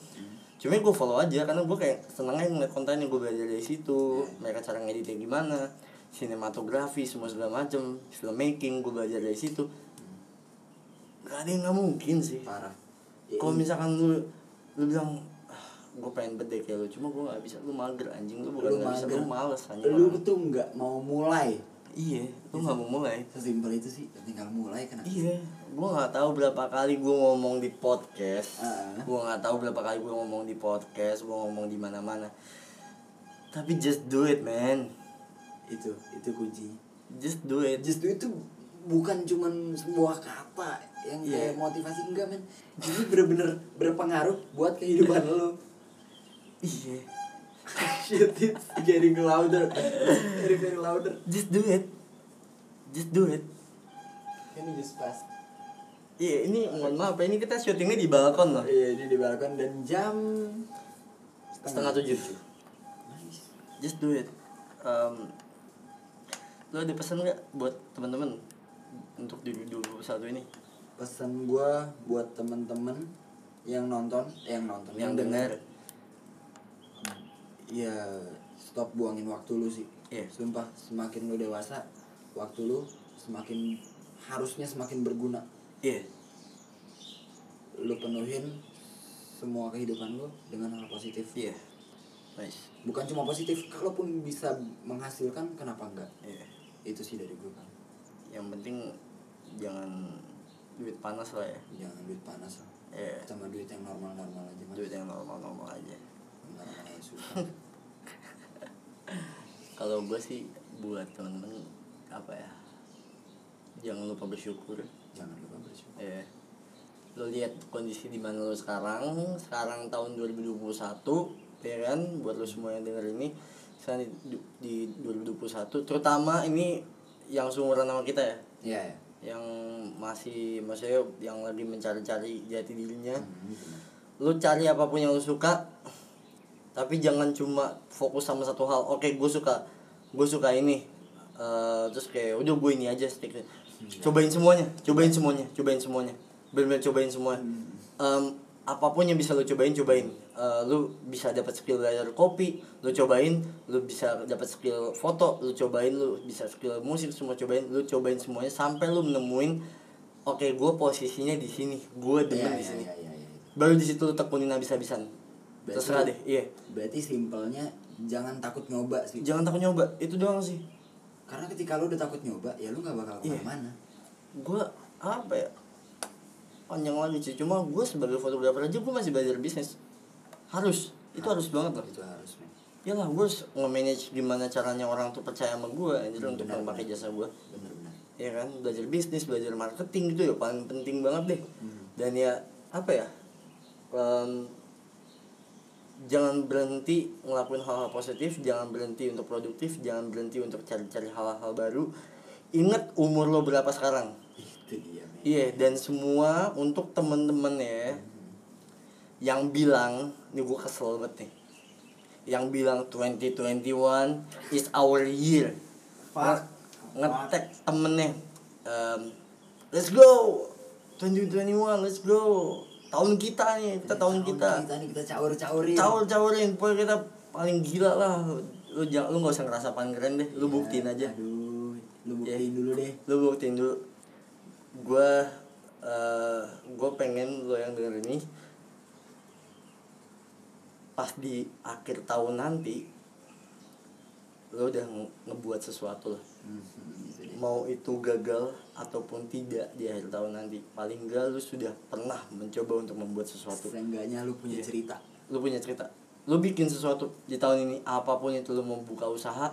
[SPEAKER 2] cuma gue follow aja karena gue kayak senengnya ngeliat konten yang gue belajar dari situ mereka cara ngeditnya gimana sinematografi semua segala macam filmmaking gue belajar dari situ gak ada yang nggak mungkin sih
[SPEAKER 3] Parah. Iya,
[SPEAKER 2] kalau misalkan lu lu bilang gue pengen bedek ya lu cuma gue gak bisa lu mager anjing lu bukan
[SPEAKER 3] lu
[SPEAKER 2] gak bisa
[SPEAKER 3] mager.
[SPEAKER 2] lu males anjing
[SPEAKER 3] Lu
[SPEAKER 2] orang.
[SPEAKER 3] tuh nggak mau mulai.
[SPEAKER 2] iya lu gak mau mulai
[SPEAKER 3] Sesimpel itu sih, tinggal mulai kena.
[SPEAKER 2] Iya, gue nggak tahu berapa kali gue ngomong di podcast,
[SPEAKER 3] Ah.
[SPEAKER 2] gue nggak tahu berapa kali gue ngomong di podcast, gue ngomong di mana-mana. Tapi just do it, man.
[SPEAKER 3] Itu, itu kunci.
[SPEAKER 2] Just do it.
[SPEAKER 3] Just do itu bukan cuman sebuah kata yang kayak
[SPEAKER 2] Iya.
[SPEAKER 3] motivasi enggak men ini bener-bener berpengaruh buat kehidupan lo (laughs)
[SPEAKER 2] Iya.
[SPEAKER 3] shit it's getting louder very very louder
[SPEAKER 2] Just do it. Just do it.
[SPEAKER 3] ini just fast
[SPEAKER 2] Iya, ini mohon maaf ya, ini kita syutingnya di balkon loh.
[SPEAKER 3] Iya, ini di balkon dan jam
[SPEAKER 2] Setengah tujuh cuy. Just do it. Um, lo ada pesan nggak buat teman-teman untuk di 2021 ini?
[SPEAKER 3] pesan gua buat temen-temen yang nonton, eh, yang nonton, yang, denger, ya stop buangin waktu lu sih.
[SPEAKER 2] Iya.
[SPEAKER 3] Sumpah, semakin lu dewasa, waktu lu semakin harusnya semakin berguna.
[SPEAKER 2] Iya.
[SPEAKER 3] Lu penuhin semua kehidupan lu dengan hal positif.
[SPEAKER 2] Iya. Nice.
[SPEAKER 3] Bukan cuma positif, kalaupun bisa menghasilkan kenapa enggak?
[SPEAKER 2] Iya.
[SPEAKER 3] Itu sih dari gua kan.
[SPEAKER 2] Yang penting jangan duit panas lah ya.
[SPEAKER 3] Jangan duit panas lah.
[SPEAKER 2] Iya.
[SPEAKER 3] Sama duit yang normal-normal aja. Mas.
[SPEAKER 2] Duit yang normal-normal aja.
[SPEAKER 3] Normal aja susah.
[SPEAKER 2] Kalau gue sih buat temen-temen apa ya? Jangan lupa bersyukur.
[SPEAKER 3] Jangan lupa bersyukur.
[SPEAKER 2] ya lo lihat kondisi di mana lo sekarang sekarang tahun 2021 ya kan buat lo semua yang denger ini sekarang di, di 2021 terutama ini yang seumuran sama kita ya
[SPEAKER 3] Iya ya.
[SPEAKER 2] yang masih maksudnya yang lagi mencari-cari jati dirinya
[SPEAKER 3] Hmm, benar.
[SPEAKER 2] lu cari apapun yang lu suka tapi jangan cuma fokus sama satu hal oke gue suka gue suka ini Eh, terus kayak udah gue ini aja stick
[SPEAKER 3] Iya.
[SPEAKER 2] cobain semuanya cobain semuanya cobain semuanya benar cobain semua
[SPEAKER 3] Hmm.
[SPEAKER 2] Em, apapun yang bisa lu cobain cobain Eh, lu bisa dapat skill dari kopi lu cobain lu bisa dapat skill foto lu cobain lu bisa skill musik semua cobain lu cobain semuanya sampai lu nemuin oke gue posisinya di sini gue
[SPEAKER 3] Iya,
[SPEAKER 2] demen di
[SPEAKER 3] iya,
[SPEAKER 2] sini
[SPEAKER 3] iya, iya, iya.
[SPEAKER 2] baru di situ lu tekunin habis-habisan
[SPEAKER 3] Berarti-
[SPEAKER 2] terserah deh iya
[SPEAKER 3] Berarti simpelnya jangan takut nyoba sih.
[SPEAKER 2] jangan takut nyoba itu doang sih
[SPEAKER 3] Karena ketika lu udah takut nyoba, ya lu nggak bakal
[SPEAKER 2] Iya.
[SPEAKER 3] kemana-mana.
[SPEAKER 2] gue apa ya panjang lagi sih cuma gue sebagai fotografer aja gue masih belajar bisnis harus itu harus banget loh
[SPEAKER 3] Itu harus men.
[SPEAKER 2] iyalah gue harus nge-manage gimana caranya orang tuh percaya sama gue anjir
[SPEAKER 3] Hmm,
[SPEAKER 2] untuk
[SPEAKER 3] benar,
[SPEAKER 2] memakai
[SPEAKER 3] benar.
[SPEAKER 2] jasa gue
[SPEAKER 3] Bener-bener.
[SPEAKER 2] ya kan belajar bisnis belajar marketing itu ya paling penting banget deh dan ya apa ya em, jangan berhenti ngelakuin hal-hal positif jangan berhenti untuk produktif jangan berhenti untuk cari-cari hal-hal baru ingat umur lo berapa sekarang
[SPEAKER 3] Itu dia men.
[SPEAKER 2] iya dan semua untuk temen-temen ya yang bilang nih gue kesel banget nih yang bilang 2021 is our year
[SPEAKER 3] Fuck.
[SPEAKER 2] ngetek temennya em, let's go 2021 let's go tahun kita nih kita tahun kita
[SPEAKER 3] Kita nih kita caur-caurin.
[SPEAKER 2] caur caurin pokoknya kita paling gila lah lu jangan lu nggak usah ngerasa paling keren deh lu
[SPEAKER 3] Ya,
[SPEAKER 2] buktiin aja Iya.
[SPEAKER 3] Aduh, lu buktiin dulu deh.
[SPEAKER 2] lu buktiin dulu gue gue pengen lo yang denger ini pas di akhir tahun nanti lo udah nge- ngebuat sesuatu lah
[SPEAKER 3] Hmm, gitu deh.
[SPEAKER 2] mau itu gagal ataupun tidak di akhir tahun nanti paling enggak lu sudah pernah mencoba untuk membuat sesuatu
[SPEAKER 3] Seenggaknya kan lu punya
[SPEAKER 2] Iya.
[SPEAKER 3] cerita.
[SPEAKER 2] lu punya cerita lu bikin sesuatu di tahun ini apapun itu lu mau buka usaha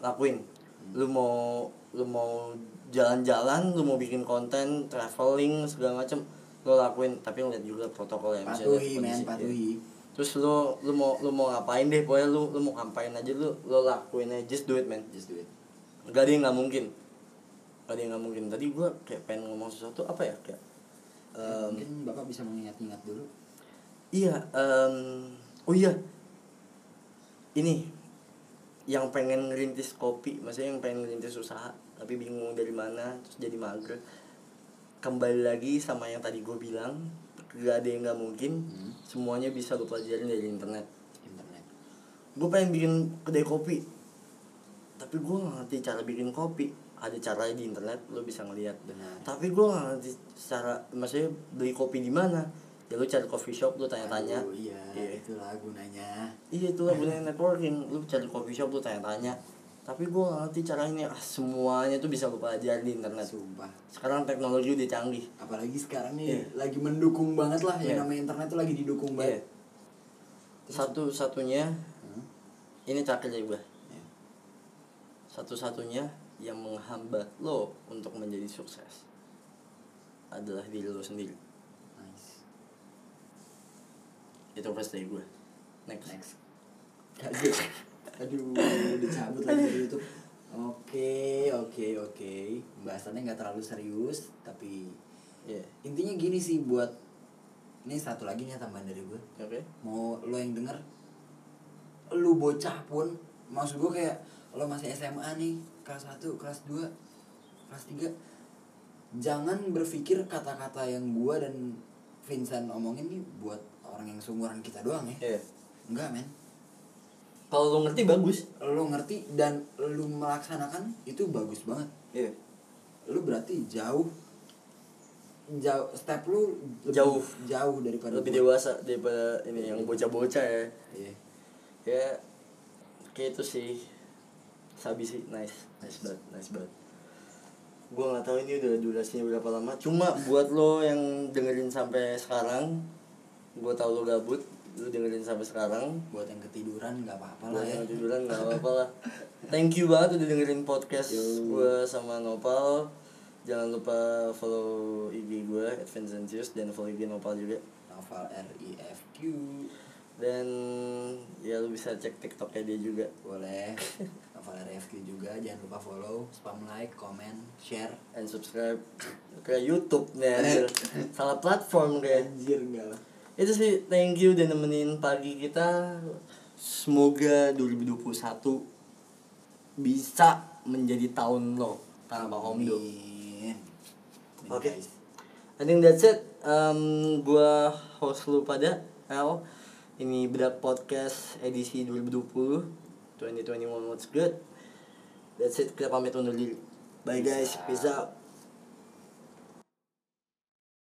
[SPEAKER 2] lakuin
[SPEAKER 3] Hmm.
[SPEAKER 2] lu mau lu mau jalan-jalan lu mau bikin konten traveling segala macem lu lakuin tapi ngeliat juga protokol ya misalnya
[SPEAKER 3] Patuhi men,
[SPEAKER 2] kondisi, ya.
[SPEAKER 3] patuhi.
[SPEAKER 2] terus lu lu mau lu mau ngapain deh pokoknya lu lu mau ngapain aja lu lu lakuin aja just do it man
[SPEAKER 3] Just do it.
[SPEAKER 2] gak ada yang nggak mungkin gak ada yang nggak mungkin tadi gua kayak pengen ngomong sesuatu apa ya kayak em,
[SPEAKER 3] Mungkin Bapak bisa mengingat-ingat dulu.
[SPEAKER 2] Iya, em, oh iya, ini yang pengen ngerintis kopi, maksudnya yang pengen ngerintis usaha, tapi bingung dari mana, terus jadi mager. Kembali lagi sama yang tadi gue bilang, gak ada yang gak mungkin,
[SPEAKER 3] Hmm.
[SPEAKER 2] semuanya bisa lo pelajarin dari internet.
[SPEAKER 3] Internet.
[SPEAKER 2] Gue pengen bikin kedai kopi, tapi gue gak ngerti cara bikin kopi. Ada caranya di internet, lo bisa ngeliat
[SPEAKER 3] Benar.
[SPEAKER 2] tapi gue gak ngerti cara maksudnya beli kopi di mana ya lu cari coffee shop lu tanya-tanya
[SPEAKER 3] Aduh, iya,
[SPEAKER 2] Iya.
[SPEAKER 3] itulah gunanya.
[SPEAKER 2] iya itu lah gunanya networking lu cari coffee shop lu tanya-tanya tapi gue gak ngerti cara ini ah, semuanya tuh bisa lu pelajari di internet
[SPEAKER 3] Sumpah.
[SPEAKER 2] sekarang teknologi udah canggih
[SPEAKER 3] Apalagi sekarang nih
[SPEAKER 2] Iya.
[SPEAKER 3] lagi mendukung banget lah
[SPEAKER 2] Iya.
[SPEAKER 3] yang namanya internet tuh lagi didukung
[SPEAKER 2] Iya.
[SPEAKER 3] banget.
[SPEAKER 2] satu satunya
[SPEAKER 3] Hmm,
[SPEAKER 2] ini terakhir dari gue
[SPEAKER 3] iya.
[SPEAKER 2] satu satunya yang menghambat lo untuk menjadi sukses adalah diri lo sendiri
[SPEAKER 3] Nice.
[SPEAKER 2] itu first dari gue next,
[SPEAKER 3] Next. Aduh. Aduh, udah cabut lagi dari YouTube. Oke, oke, oke. Pembahasannya nggak terlalu serius, tapi
[SPEAKER 2] Iya.
[SPEAKER 3] intinya gini sih buat ini satu lagi nih tambahan dari gue
[SPEAKER 2] Oke.
[SPEAKER 3] mau lo yang denger lu bocah pun maksud gue kayak lo masih SMA nih kelas 1, kelas 2, kelas 3 jangan berpikir kata-kata yang gue dan Vincent omongin nih buat orang yang seumuran kita doang ya
[SPEAKER 2] Iya.
[SPEAKER 3] enggak men
[SPEAKER 2] Kalau lu ngerti bagus.
[SPEAKER 3] lo ngerti dan lo melaksanakan itu bagus banget
[SPEAKER 2] Iya.
[SPEAKER 3] lu berarti jauh jauh step lu lebih
[SPEAKER 2] Jauh.
[SPEAKER 3] jauh daripada
[SPEAKER 2] Lebih
[SPEAKER 3] gua.
[SPEAKER 2] dewasa daripada ini yang bocah-bocah ya.
[SPEAKER 3] Iya.
[SPEAKER 2] Ya kayak itu sih. Sabi sih nice. Nice banget, nice banget. Gue nggak tahu ini udah durasinya berapa lama. Cuma buat lo yang dengerin sampai sekarang, gue tahu lo gabut, lo dengerin sampai sekarang.
[SPEAKER 3] buat yang ketiduran nggak apa-apa lah
[SPEAKER 2] Buat
[SPEAKER 3] ya
[SPEAKER 2] yang tiduran nggak apa-apa lah Thank you banget udah dengerin podcast
[SPEAKER 3] Yo.
[SPEAKER 2] gue sama Nopal Jangan lupa follow IG gue Adventitius dan follow IG Nopal juga
[SPEAKER 3] novel R I F Q
[SPEAKER 2] Dan ya lu bisa cek TikToknya dia juga
[SPEAKER 3] boleh novel R I F Q juga jangan lupa follow spam like comment share
[SPEAKER 2] And subscribe ke Youtube nih anjir. Salah platform kayak
[SPEAKER 3] anjir enggak lah
[SPEAKER 2] Itu sih thank you udah nemenin pagi kita Semoga 2021 bisa menjadi tahun lo tanpa Omdo.
[SPEAKER 3] Amin. Amin,
[SPEAKER 2] Oke.
[SPEAKER 3] guys.
[SPEAKER 2] I think that's it. Um, gua host lu pada L. Ini bedak podcast edisi 2020. 2021 what's good. That's it. Kita pamit undur diri. Bye guys. Peace out.